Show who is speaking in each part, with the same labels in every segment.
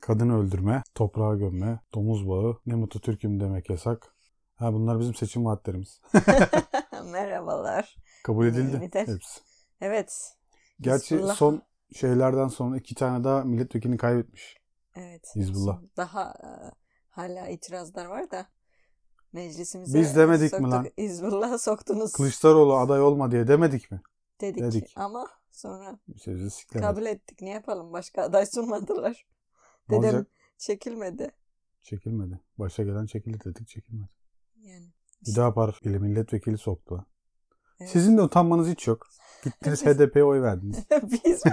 Speaker 1: kadın öldürme, toprağa gömme, domuz bağı, ne mutlu Türk'üm demek yasak. Ha bunlar bizim seçim vaatlerimiz.
Speaker 2: Merhabalar.
Speaker 1: Kabul edildi
Speaker 2: Yeter.
Speaker 1: hepsi.
Speaker 2: Evet.
Speaker 1: Gerçi
Speaker 2: Hizbullah.
Speaker 1: son şeylerden sonra iki tane daha milletvekilini kaybetmiş.
Speaker 2: Evet.
Speaker 1: Hizbullah.
Speaker 2: Şimdi Daha e, hala itirazlar var da meclisimize
Speaker 1: Biz demedik mi
Speaker 2: soktuk-
Speaker 1: lan?
Speaker 2: Hizbullah'a soktunuz
Speaker 1: Kılıçdaroğlu aday olma diye demedik mi?
Speaker 2: dedik.
Speaker 1: dedik.
Speaker 2: ama sonra
Speaker 1: Sözü siklemedi.
Speaker 2: kabul ettik. Ne yapalım? Başka aday sunmadılar.
Speaker 1: Ne
Speaker 2: Dedem
Speaker 1: olacak?
Speaker 2: çekilmedi.
Speaker 1: Çekilmedi. Başa gelen çekilir dedik çekilmedi.
Speaker 2: Yani
Speaker 1: Hüdapar ile milletvekili soktu.
Speaker 2: Evet.
Speaker 1: Sizin de utanmanız hiç yok. Gittiniz HDP'ye oy verdiniz.
Speaker 2: biz mi?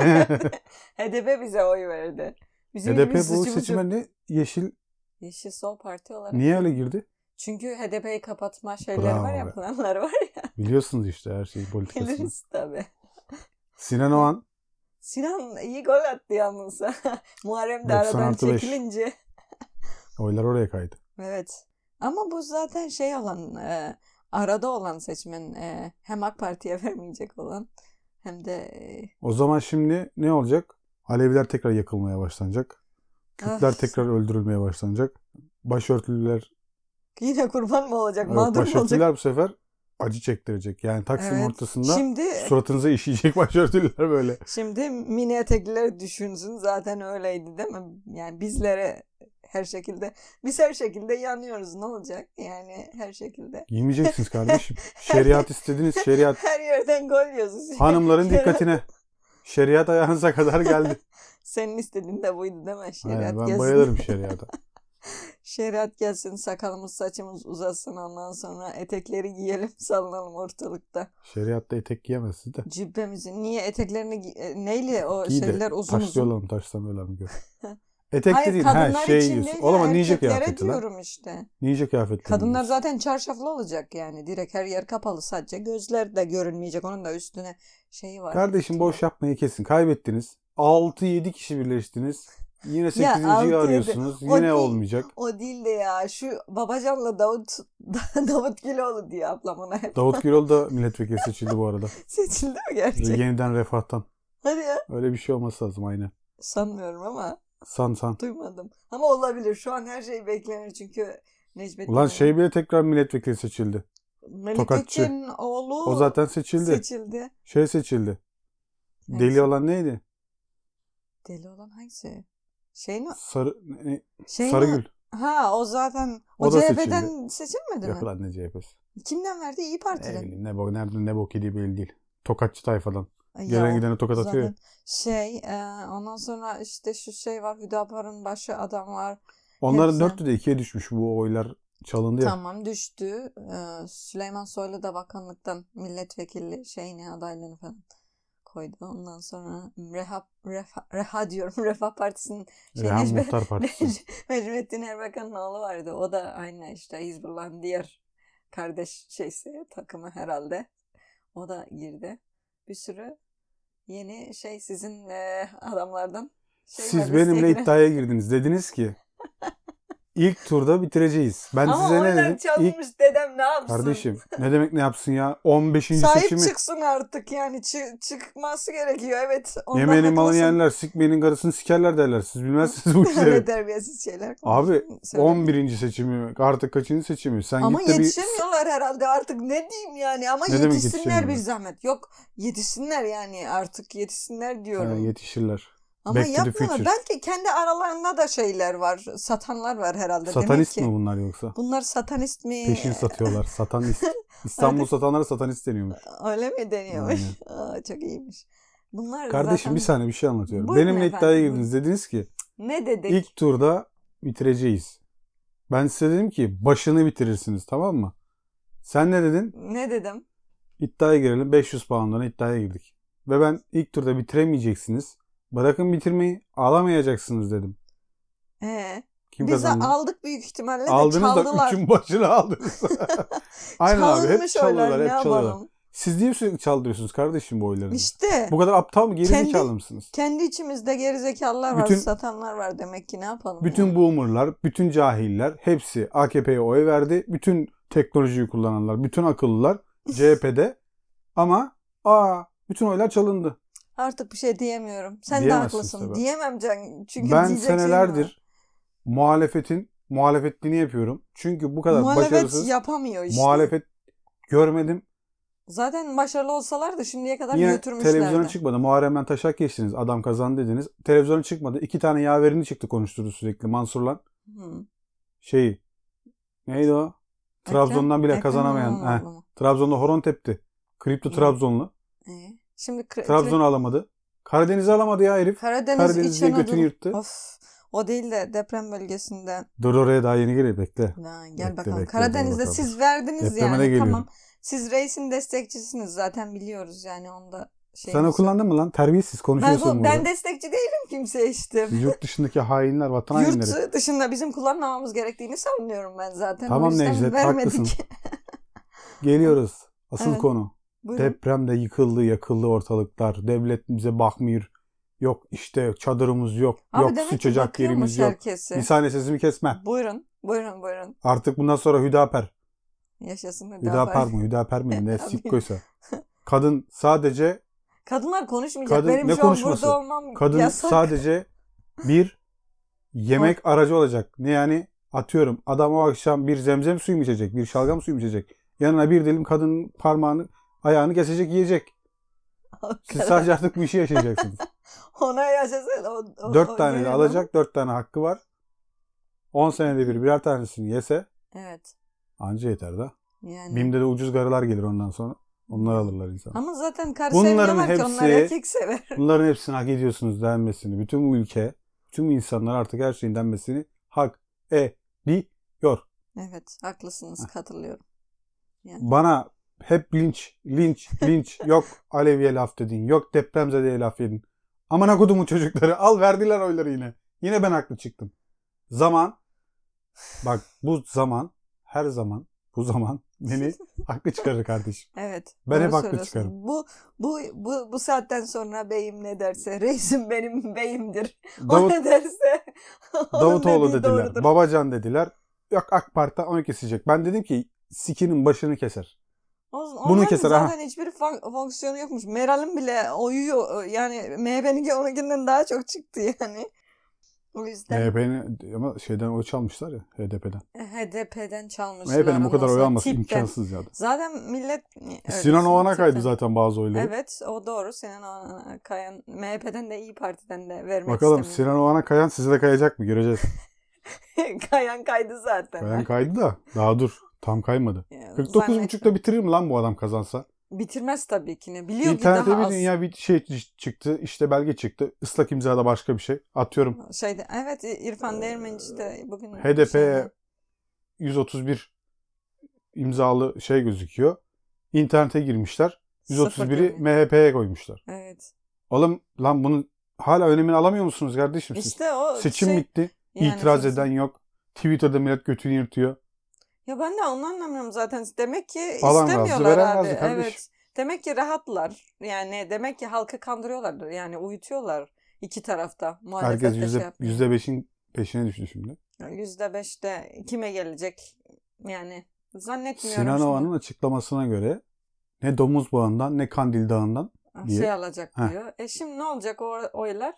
Speaker 2: HDP bize oy verdi. Bizim
Speaker 1: HDP
Speaker 2: gibi
Speaker 1: bu
Speaker 2: suçumuz yok.
Speaker 1: seçime ne? Yeşil
Speaker 2: Yeşil Sol Parti olarak.
Speaker 1: niye öyle girdi?
Speaker 2: Çünkü HDP'yi kapatma şeyleri
Speaker 1: Bravo
Speaker 2: var ya
Speaker 1: be.
Speaker 2: planları var ya.
Speaker 1: Biliyorsunuz işte her şeyi politikasını.
Speaker 2: Biliriz tabii.
Speaker 1: Sinan Oğan
Speaker 2: Sinan iyi gol attı yalnız. Muharrem de
Speaker 1: 90
Speaker 2: aradan
Speaker 1: artı beş.
Speaker 2: çekilince.
Speaker 1: oylar oraya kaydı.
Speaker 2: Evet. Ama bu zaten şey olan e, arada olan seçmen e, hem AK Parti'ye vermeyecek olan hem de e,
Speaker 1: O zaman şimdi ne olacak? Aleviler tekrar yakılmaya başlanacak. Kürtler
Speaker 2: Ah.
Speaker 1: tekrar öldürülmeye başlanacak. Başörtülüler,
Speaker 2: yine kurban mı olacak,
Speaker 1: evet,
Speaker 2: mağdur mu olacak?
Speaker 1: başörtülüler bu sefer acı çektirecek. Yani Taksim'in
Speaker 2: Evet.
Speaker 1: ortasında
Speaker 2: Şimdi
Speaker 1: suratınıza işeyecek başörtülüler böyle.
Speaker 2: şimdi mini etekliler düşünsün zaten öyleydi değil mi? Yani bizlere her şekilde biz her şekilde yanıyoruz ne olacak? Yani her şekilde
Speaker 1: Giymeyeceksiniz kardeşim. Şeriat istediğiniz şeriat.
Speaker 2: her yerden gol yiyoruz.
Speaker 1: Hanımların dikkatine. Şeriat ayağınıza kadar geldi.
Speaker 2: Senin istediğin de buydu değil mi? Şeriat
Speaker 1: Aynen, ben
Speaker 2: gelsin.
Speaker 1: bayılırım şeriata.
Speaker 2: Şeriat gelsin, sakalımız saçımız uzasın ondan sonra etekleri giyelim sallanalım ortalıkta.
Speaker 1: Şeriatta etek giyemezsiniz de.
Speaker 2: Cübbemizi niye eteklerini gi- e, neyle o
Speaker 1: Giy de
Speaker 2: şeyler uzun uzun.
Speaker 1: taşlıyorlar mı taşlamıyorlar mı gör. Etek
Speaker 2: Hayır
Speaker 1: de değil.
Speaker 2: kadınlar
Speaker 1: Ha, şey
Speaker 2: için
Speaker 1: diyorsun.
Speaker 2: değil de
Speaker 1: O zaman ninja
Speaker 2: erkeklere
Speaker 1: kıyafeti lan.
Speaker 2: diyorum işte.
Speaker 1: Ninja kıyafeti.
Speaker 2: Kadınlar zaten çarşaflı olacak yani direkt her yer kapalı sadece gözler de görünmeyecek onun da üstüne şeyi var.
Speaker 1: Kardeşim boş yapmayı kesin. Kaybettiniz. 6-7 kişi birleştiniz. Yine 8.
Speaker 2: altı, yedi.
Speaker 1: arıyorsunuz.
Speaker 2: O
Speaker 1: Yine
Speaker 2: değil.
Speaker 1: olmayacak.
Speaker 2: O değil de ya şu babacanla Davut Davut Güloğlu diye ablam ona hep
Speaker 1: Davut Gürol da milletvekili seçildi bu arada.
Speaker 2: seçildi mi gerçek?
Speaker 1: Yeniden refahtan.
Speaker 2: Hadi ya
Speaker 1: Öyle bir şey olması lazım aynı.
Speaker 2: sanmıyorum ama
Speaker 1: San san.
Speaker 2: Duymadım. Ama olabilir. Şu an her şey beklenir çünkü Necmettin.
Speaker 1: Ulan
Speaker 2: Ulan
Speaker 1: şey bile tekrar milletvekili seçildi.
Speaker 2: Melik
Speaker 1: Tokatçı.
Speaker 2: Gökçen'in oğlu
Speaker 1: O zaten seçildi.
Speaker 2: seçildi.
Speaker 1: şey seçildi.
Speaker 2: Hangisi?
Speaker 1: Deli olan neydi?
Speaker 2: Deli olan hangisi? Şey mi?
Speaker 1: Sarı ne,
Speaker 2: Şey
Speaker 1: Sarıgül.
Speaker 2: Ha o zaten o,
Speaker 1: O da
Speaker 2: CHP'den seçilmedi mi?
Speaker 1: Yok lan ne CHP'si.
Speaker 2: Kimden verdi? İyi
Speaker 1: Ne
Speaker 2: Parti'den.
Speaker 1: bileyim ne bok nerede ne bok yediği belli değil. Tokatçı tayfadan.
Speaker 2: Ay,
Speaker 1: Gelen
Speaker 2: ya,
Speaker 1: gidene tokat
Speaker 2: zaten
Speaker 1: atıyor. ya.
Speaker 2: Şey e, ondan sonra işte şu şey var Hüdapar'ın başı adam var.
Speaker 1: Onların
Speaker 2: hepsi.
Speaker 1: dörtü de ikiye düşmüş bu oylar çalındı ya.
Speaker 2: Tamam düştü. E, Süleyman Soylu da bakanlıktan milletvekili şeyine adaylığını falan koydu. Ondan sonra Reha, Refa, Reha diyorum Refah Partisi'nin şey,
Speaker 1: Rehan
Speaker 2: Necmi-
Speaker 1: Muhtar Partisi.
Speaker 2: Necmettin Erbakan'ın oğlu vardı. O da aynı işte Hizbullah'ın diğer kardeş şeysi takımı herhalde. O da girdi. Bir sürü yeni şey sizin e, adamlardan şey var,
Speaker 1: Siz
Speaker 2: listeye
Speaker 1: benimle
Speaker 2: giren-
Speaker 1: iddiaya girdiniz. Dediniz ki ilk turda bitireceğiz. Ben
Speaker 2: Ama
Speaker 1: size ne
Speaker 2: oradan
Speaker 1: dedim? İlk
Speaker 2: çalınmış dedem ne yapsın?
Speaker 1: kardeşim ne demek ne yapsın ya? 15.
Speaker 2: Sahip
Speaker 1: seçimi.
Speaker 2: çıksın artık yani Çı- çıkması gerekiyor evet. ondan
Speaker 1: Yemeğinin malını
Speaker 2: haklısın.
Speaker 1: yerler, sikmenin karısını sikerler derler. Siz bilmezsiniz bu
Speaker 2: Öyle
Speaker 1: işleri.
Speaker 2: terbiyesiz şeyler.
Speaker 1: Abi,
Speaker 2: Söyle.
Speaker 1: 11. seçimi artık kaçıncı seçimi? Sen
Speaker 2: Ama
Speaker 1: git de bir
Speaker 2: yetişemiyorlar herhalde artık ne diyeyim yani ama
Speaker 1: Ne demek
Speaker 2: yetişsinler bir
Speaker 1: yetişemiyorlar?
Speaker 2: zahmet. Yok yetişsinler yani artık yetişsinler
Speaker 1: Ha,
Speaker 2: diyorum.
Speaker 1: yetişirler.
Speaker 2: ama
Speaker 1: Back to the
Speaker 2: yapmıyorlar.
Speaker 1: future.
Speaker 2: Belki kendi aralarında da şeyler var. Satanlar var herhalde.
Speaker 1: Satanist
Speaker 2: Demek ki Ee,
Speaker 1: mi bunlar yoksa?
Speaker 2: Bunlar satanist mi?
Speaker 1: Peşin satıyorlar. Satanist. İstanbul satanlara satanist deniyormuş.
Speaker 2: Öyle mi deniyormuş?
Speaker 1: Aynen.
Speaker 2: Aa, çok iyiymiş. Bunlar
Speaker 1: Kardeşim
Speaker 2: zaten...
Speaker 1: bir saniye bir şey anlatıyorum.
Speaker 2: Buyurun
Speaker 1: Benimle
Speaker 2: efendim,
Speaker 1: iddiaya
Speaker 2: buyurun.
Speaker 1: girdiniz. Dediniz ki
Speaker 2: Ne dedik?
Speaker 1: ilk turda bitireceğiz. Ben size dedim ki başını bitirirsiniz tamam mı? Sen ne dedin?
Speaker 2: Ne dedim?
Speaker 1: İddiaya girelim. 500 pound'dan iddiaya girdik. Ve ben ilk turda bitiremeyeceksiniz. Bırakın bitirmeyi alamayacaksınız dedim.
Speaker 2: Ee,
Speaker 1: Kim
Speaker 2: bize
Speaker 1: kazandı?
Speaker 2: aldık büyük ihtimalle de
Speaker 1: Aldınız da
Speaker 2: çaldılar.
Speaker 1: üçün başını aldınız. Aynen abi hep
Speaker 2: Çalınmış oylar,
Speaker 1: çalıyorlar
Speaker 2: ne
Speaker 1: hep çalıyorlar.
Speaker 2: yapalım?
Speaker 1: Siz niye sürekli çaldırıyorsunuz kardeşim bu oylarını?
Speaker 2: İşte.
Speaker 1: Bu kadar aptal mı? Geri
Speaker 2: Kendi-
Speaker 1: zekalı mısınız?
Speaker 2: Kendi içimizde gerizekalılar var,
Speaker 1: Bütün-
Speaker 2: satanlar var demek ki ne yapalım?
Speaker 1: Bütün
Speaker 2: ya?
Speaker 1: boomerlar, bütün cahiller hepsi AKP'ye oy verdi. Bütün teknolojiyi kullananlar, bütün akıllılar CHP'de. Ama aa bütün oylar çalındı.
Speaker 2: Artık bir şey diyemiyorum. Sen de
Speaker 1: Diyemezsin
Speaker 2: haklısın.
Speaker 1: tabii.
Speaker 2: Diyemem Can. Çünkü
Speaker 1: ben
Speaker 2: diyecek şey şeyim
Speaker 1: senelerdir muhalefetin muhalefetliğini yapıyorum. Çünkü bu kadar
Speaker 2: muhalefet
Speaker 1: başarısız
Speaker 2: yapamıyor işte.
Speaker 1: muhalefet görmedim.
Speaker 2: Zaten başarılı olsalardı şimdiye kadar
Speaker 1: Niye
Speaker 2: götürmüşlerdi.
Speaker 1: televizyona çıkmadı? Muharrem'den taşak geçtiniz. Adam kazandı dediniz. Televizyona çıkmadı. İki tane yaverini çıktı konuşturdu sürekli. Mansur'la
Speaker 2: Hı.
Speaker 1: şeyi. Neydi o? Trabzon'dan bile
Speaker 2: Ekrem
Speaker 1: kazanamayan.
Speaker 2: İmamoğlu
Speaker 1: Heh.
Speaker 2: mu?
Speaker 1: Trabzon'da horon tepti. Kripto
Speaker 2: Hı.
Speaker 1: Trabzonlu.
Speaker 2: İyi. Ee, Şimdi kre-
Speaker 1: Trabzon'u alamadı. Karadeniz'i alamadı ya herif.
Speaker 2: Karadeniz,
Speaker 1: Karadeniz
Speaker 2: İç
Speaker 1: diye
Speaker 2: Anadolu-
Speaker 1: götünü yırttı.
Speaker 2: Of. O değil de deprem bölgesinden.
Speaker 1: Dur oraya daha yeni geliyor bekle.
Speaker 2: Ha, gel
Speaker 1: Bekle,
Speaker 2: bakalım.
Speaker 1: bekle, dur
Speaker 2: Karadeniz'de
Speaker 1: bakalım.
Speaker 2: siz verdiniz
Speaker 1: Depreme de
Speaker 2: yani.
Speaker 1: geliyorum.
Speaker 2: Tamam. Siz reisin destekçisiniz zaten biliyoruz yani onda şey.
Speaker 1: Sen o kullandın mı lan? Terbiyesiz
Speaker 2: ben,
Speaker 1: konuşuyorsun
Speaker 2: bu-
Speaker 1: burada.
Speaker 2: ben destekçi değilim kimseye işte.
Speaker 1: Yurt dışındaki hainler, vatan hainleri.
Speaker 2: Yurt dışında bizim kullanmamamız gerektiğini savunuyorum ben zaten.
Speaker 1: Tamam
Speaker 2: O yüzden
Speaker 1: Necdet,
Speaker 2: vermedik.
Speaker 1: haklısın. Geliyoruz. Asıl
Speaker 2: Evet.
Speaker 1: konu.
Speaker 2: Buyurun.
Speaker 1: Depremde yıkıldı, yakıldı ortalıklar. Devlet bize bakmıyor. Yok işte çadırımız yok.
Speaker 2: Abi
Speaker 1: yok
Speaker 2: demek ki
Speaker 1: sıçacak yerimiz
Speaker 2: bakıyormuş
Speaker 1: yok.
Speaker 2: herkesi.
Speaker 1: Bir saniye sesimi kesme.
Speaker 2: Buyurun. Buyurun buyurun.
Speaker 1: Artık bundan sonra Hüdaper.
Speaker 2: Yaşasın Hüdapar.
Speaker 1: Hüdapar mı? Hüdaper mi? Ne
Speaker 2: Abi.
Speaker 1: sikkoysa. Kadın sadece
Speaker 2: Kadınlar konuşmayacak.
Speaker 1: Kadın-
Speaker 2: Benim
Speaker 1: ne
Speaker 2: şu
Speaker 1: konuşması?
Speaker 2: an burada olmam
Speaker 1: kadın
Speaker 2: yasak.
Speaker 1: sadece bir yemek aracı olacak. Ne yani? Atıyorum adam o akşam bir zemzem suyu mu içecek? Bir şalgam suyu mu içecek? Yanına bir dilim kadının parmağını ayağını kesecek yiyecek. Siz sadece artık bu işi yaşayacaksınız.
Speaker 2: Ona yaşasın. O, o, o
Speaker 1: dört tane de
Speaker 2: görüyorum.
Speaker 1: alacak. Dört tane hakkı var. On senede bir birer tanesini yese
Speaker 2: Evet.
Speaker 1: anca yeter da.
Speaker 2: Yani.
Speaker 1: BİM'de de ucuz garılar gelir ondan sonra. Onlar alırlar insanı.
Speaker 2: Ama zaten karı
Speaker 1: Bunların
Speaker 2: sevmiyorlar ki
Speaker 1: hepsi-
Speaker 2: onlar erkek sever.
Speaker 1: Bunların hepsini hak ediyorsunuz denmesini. Bütün bu ülke, bütün bu insanlar artık her şeyin denmesini hak ediyor.
Speaker 2: Evet haklısınız katılıyorum.
Speaker 1: Bana hep linç, linç, linç. Yok Alevi'ye laf dedin. Yok depremzedeye laf yedin. Amına kodumun çocukları. Al verdiler oyları yine. Yine ben haklı çıktım. Zaman. Bak bu zaman. Her zaman. Bu zaman beni haklı çıkarır kardeşim.
Speaker 2: Evet.
Speaker 1: Ben hep
Speaker 2: doğru
Speaker 1: haklı
Speaker 2: söylüyorsun.
Speaker 1: çıkarım.
Speaker 2: Bu, bu, bu, bu saatten sonra beyim ne derse reisim benim beyimdir. O
Speaker 1: Davut,
Speaker 2: ne derse. onun
Speaker 1: Davutoğlu
Speaker 2: dediği
Speaker 1: dediler.
Speaker 2: doğrudur.
Speaker 1: Babacan dediler. Yok AK Parti onu kesecek. Ben dedim ki sikinin başını keser.
Speaker 2: Olsun,
Speaker 1: Bunu
Speaker 2: onların
Speaker 1: keser, aha.
Speaker 2: zaten hiçbir fon- fonksiyonu yokmuş. Meral'in bile oyuyor. Yani MHP'nin onunkinden daha çok çıktı yani. O yüzden
Speaker 1: MHP'nin Ee, ama şeyden oy çalmışlar ya HDP'den.
Speaker 2: HDP'den çalmışlar.
Speaker 1: MHP'nin bu kadar
Speaker 2: ondan
Speaker 1: oy
Speaker 2: sonra
Speaker 1: alması
Speaker 2: tipten.
Speaker 1: imkansız ya.
Speaker 2: Zaten millet... öyle
Speaker 1: Sinan Oğan'a
Speaker 2: tipten.
Speaker 1: kaydı zaten bazı oyları.
Speaker 2: Evet o doğru. Sinan Oğan'a kayan MHP'den de İyi Parti'den de vermek
Speaker 1: Bakalım
Speaker 2: istemiyorum.
Speaker 1: Sinan Oğan'a kayan size de kayacak mı? Göreceğiz.
Speaker 2: kayan kaydı zaten.
Speaker 1: Kayan kaydı da daha dur. Tam kaymadı.
Speaker 2: Ya, zannetmiyorum.
Speaker 1: 49.5'da bitirir mi lan bu adam kazansa?
Speaker 2: Bitirmez tabii ki ne. Biliyor ki
Speaker 1: İnternette
Speaker 2: daha
Speaker 1: bir
Speaker 2: az.
Speaker 1: dünya bir şey çı- çıktı. işte belge çıktı. Islak imzada başka bir şey. Atıyorum
Speaker 2: Şeyde, evet İrfan Değirmen işte bugün...
Speaker 1: HDP
Speaker 2: şeyde-
Speaker 1: 131 imzalı şey gözüküyor. İnternete girmişler.
Speaker 2: Sıfır
Speaker 1: 131'i
Speaker 2: görünüyor.
Speaker 1: MHP'ye koymuşlar.
Speaker 2: Evet.
Speaker 1: Oğlum lan bunun hala önemini alamıyor musunuz kardeşim siz?
Speaker 2: İşte o
Speaker 1: Seçim
Speaker 2: şey-
Speaker 1: bitti.
Speaker 2: yani
Speaker 1: İtiraz
Speaker 2: seçim-
Speaker 1: eden yok. Twitter'da millet götünü yırtıyor.
Speaker 2: Ya ben de onu anlamıyorum zaten. Demek ki
Speaker 1: Alan razı,
Speaker 2: istemiyorlar
Speaker 1: veren
Speaker 2: abi.
Speaker 1: razı kardeşim.
Speaker 2: Evet. Demek ki rahatlar. Yani demek ki halkı kandırıyorlardır. Yani uyutuyorlar iki tarafta. Muhalefet
Speaker 1: Herkes
Speaker 2: de şey
Speaker 1: yüzde,
Speaker 2: yapmıyor.
Speaker 1: yüzde beşin peşine düştü şimdi.
Speaker 2: Yüzde beşte kime gelecek? Yani zannetmiyorum.
Speaker 1: Sinan
Speaker 2: şimdi.
Speaker 1: Oğan'ın açıklamasına göre ne Domuz Bağı'ndan ne Kandil Dağı'ndan.
Speaker 2: Ah,
Speaker 1: diye.
Speaker 2: Şey alacak
Speaker 1: Heh.
Speaker 2: diyor. E şimdi ne olacak o oylar?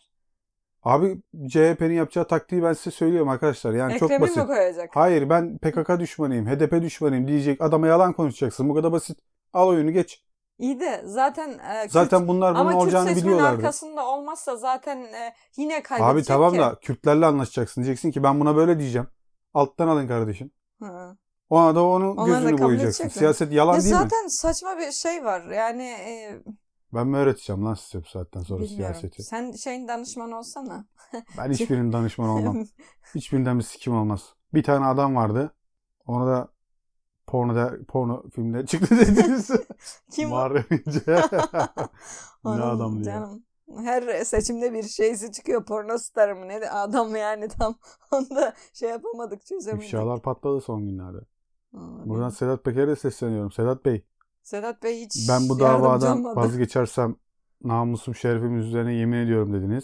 Speaker 1: Abi CHP'nin yapacağı taktiği ben size söylüyorum arkadaşlar. Yani çok
Speaker 2: Ekrem'i
Speaker 1: basit.
Speaker 2: mi koyacak?
Speaker 1: Hayır ben PKK düşmanıyım, HDP düşmanıyım diyecek adama yalan konuşacaksın. Bu kadar basit. Al oyunu geç.
Speaker 2: İyi de zaten e, Kürt-
Speaker 1: Zaten bunlar bunun
Speaker 2: ama Kürt
Speaker 1: olacağını
Speaker 2: seçmenin
Speaker 1: biliyorlardı.
Speaker 2: arkasında olmazsa zaten e, yine kaybedecek
Speaker 1: Abi tamam
Speaker 2: ki.
Speaker 1: da Kürtlerle anlaşacaksın. Diyeceksin ki ben buna böyle diyeceğim. Alttan alın kardeşim.
Speaker 2: Hı.
Speaker 1: Ona da onun
Speaker 2: Onlar da
Speaker 1: gözünü
Speaker 2: kabul
Speaker 1: boyayacaksın.
Speaker 2: edecekler.
Speaker 1: Siyaset yalan
Speaker 2: ya
Speaker 1: değil mi?
Speaker 2: zaten saçma bir şey var. Yani e,
Speaker 1: Ben mi öğreteceğim lan size bu saatten sonra
Speaker 2: bilmiyorum.
Speaker 1: siyaseti?
Speaker 2: Sen şeyin danışmanı olsana.
Speaker 1: Ben hiçbirinin danışmanı olmam. Hiçbirinden bir sikim olmaz. Bir tane adam vardı. Ona da porno, der- porno filmde çıktı dediniz.
Speaker 2: Kim o?
Speaker 1: Muharrem İnce. ne
Speaker 2: Onun
Speaker 1: adam diyor.
Speaker 2: canım. Her seçimde bir şeysi çıkıyor. Porno starı mı ne? de- Adam yani tam onu da şey yapamadık çözemedik.
Speaker 1: İfşalar patladı son günlerde.
Speaker 2: Vallahi
Speaker 1: Buradan
Speaker 2: bilmiyorum.
Speaker 1: Sedat Peker'e de sesleniyorum. Sedat Bey
Speaker 2: Sedat Bey hiç
Speaker 1: ben bu
Speaker 2: yardımcı
Speaker 1: davadan
Speaker 2: olmadı.
Speaker 1: vazgeçersem namusum şerefim üzerine yemin ediyorum dediniz.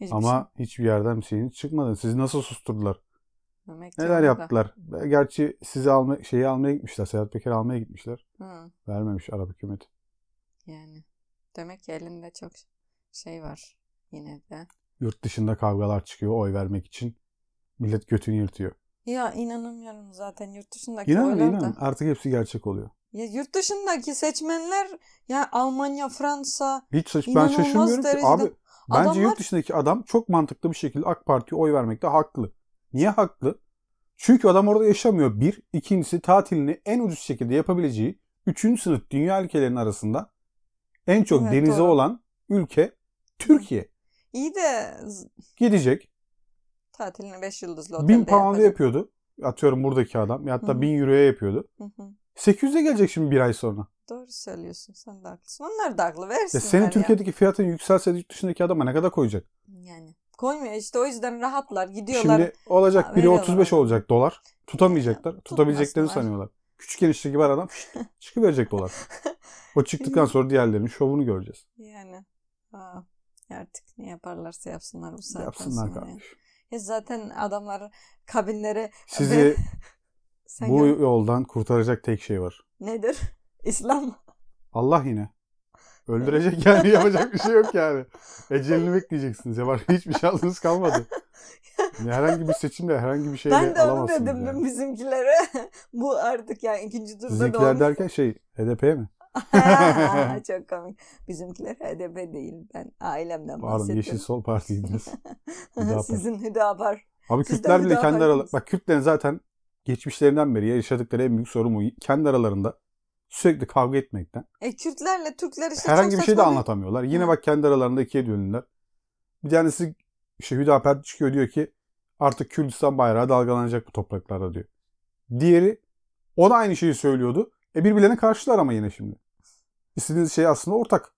Speaker 2: Hiçbir şey
Speaker 1: Ama hiçbir yerden bir şeyiniz çıkmadı. Sizi nasıl susturdular?
Speaker 2: şey. demek
Speaker 1: Neler
Speaker 2: canım da.
Speaker 1: yaptılar? Gerçi sizi alma, şeyi almaya gitmişler. Sedat Peker'i almaya gitmişler.
Speaker 2: Hı,
Speaker 1: Vermemiş Arap hükümeti.
Speaker 2: yani. Demek ki elinde çok şey var yine de.
Speaker 1: Yurt dışında kavgalar çıkıyor oy vermek için. Millet götünü yırtıyor.
Speaker 2: Ya inanamıyorum zaten yurt dışındaki
Speaker 1: İnanın
Speaker 2: oylar
Speaker 1: inanın
Speaker 2: da.
Speaker 1: artık hepsi gerçek oluyor.
Speaker 2: Ya yurt dışındaki seçmenler ya Almanya, Fransa
Speaker 1: Hiç şaş- ben
Speaker 2: İnanılmaz
Speaker 1: şaşırmıyorum ki
Speaker 2: derecede.
Speaker 1: abi. Bence
Speaker 2: Adamlar-
Speaker 1: yurt dışındaki adam çok mantıklı bir şekilde AK Parti'ye oy vermekte haklı. Niye haklı? Çünkü adam orada yaşamıyor. Bir, ikincisi tatilini en ucuz şekilde yapabileceği 3. sınıf dünya ülkelerinin arasında en çok
Speaker 2: Evet,
Speaker 1: denize
Speaker 2: doğru.
Speaker 1: olan ülke Türkiye.
Speaker 2: iyi de z-
Speaker 1: Gidecek.
Speaker 2: tatilini 5 yıldızlı otelde
Speaker 1: 1000 pound'a
Speaker 2: yapacak.
Speaker 1: yapıyordu. Atıyorum buradaki adam. Ya
Speaker 2: Hı
Speaker 1: Hatta
Speaker 2: hı.
Speaker 1: 1000 euroya yapıyordu.
Speaker 2: Hı hı.
Speaker 1: 800'e gelecek şimdi bir ay sonra.
Speaker 2: Doğru söylüyorsun. Sen de haklısın. Onlar da haklı. Versinler
Speaker 1: Ya senin
Speaker 2: ya.
Speaker 1: Türkiye'deki fiyatın yükselse yurt dışındaki adama ne kadar koyacak?
Speaker 2: Yani. Koymuyor işte o yüzden rahatlar. Gidiyorlar.
Speaker 1: Şimdi olacak biri
Speaker 2: Veriyorlar
Speaker 1: 35
Speaker 2: ona.
Speaker 1: olacak dolar. Tutamayacaklar.
Speaker 2: Tutmasınlar.
Speaker 1: Tutabileceklerini sanıyorlar. Küçük enişte gibi her adam şşt, çıkıverecek dolar. O çıktıktan sonra diğerlerinin şovunu göreceğiz.
Speaker 2: Yani. Aa, artık ne yaparlarsa yapsınlar bu saatten
Speaker 1: Yapsınlar
Speaker 2: sonra. yani.
Speaker 1: kardeş.
Speaker 2: Ya zaten adamlar kabinlere
Speaker 1: Sizi
Speaker 2: Sen
Speaker 1: bu
Speaker 2: gör-
Speaker 1: yoldan kurtaracak tek şey var.
Speaker 2: nedir? İslam.
Speaker 1: Allah yine. Öldürecek yani yapacak bir şey yok yani. Ecelini bekleyeceksiniz. Ya var hiçbir şansınız kalmadı. Herhangi bir seçimle herhangi bir şeyle
Speaker 2: ben de onu
Speaker 1: alamazsınız
Speaker 2: dedim
Speaker 1: yani.
Speaker 2: bizimkilere. bu artık yani ikinci turda da
Speaker 1: Bizimkiler
Speaker 2: olmuş.
Speaker 1: derken şey HDP mi?
Speaker 2: Ha, Çok komik. Bizimkiler HDP değil. Ben ailemden
Speaker 1: Pardon
Speaker 2: bahsediyorum.
Speaker 1: Yeşil Sol Parti'ydiniz. Hüdapar.
Speaker 2: Sizin Hüdapar.
Speaker 1: Abi
Speaker 2: Siz de
Speaker 1: Kürtler bile
Speaker 2: müdafaa
Speaker 1: kendi aralarında...
Speaker 2: ediniz.
Speaker 1: Bak Kürtlerin zaten geçmişlerinden beri yaşadıkları en büyük sorun bu. Kendi aralarında sürekli kavga etmekten.
Speaker 2: E Kürtlerle Türkler işte
Speaker 1: Herhangi
Speaker 2: çok
Speaker 1: bir şey de
Speaker 2: saçma
Speaker 1: anlatamıyorlar. Yine
Speaker 2: Hı.
Speaker 1: bak kendi aralarında ikiye bölündüler. Bir tanesi işte Hüdapar çıkıyor diyor ki artık Kürdistan bayrağı dalgalanacak bu topraklarda diyor. Diğeri o da aynı şeyi söylüyordu. E birbirlerine karşılar ama yine şimdi. İstediğiniz şey aslında ortak.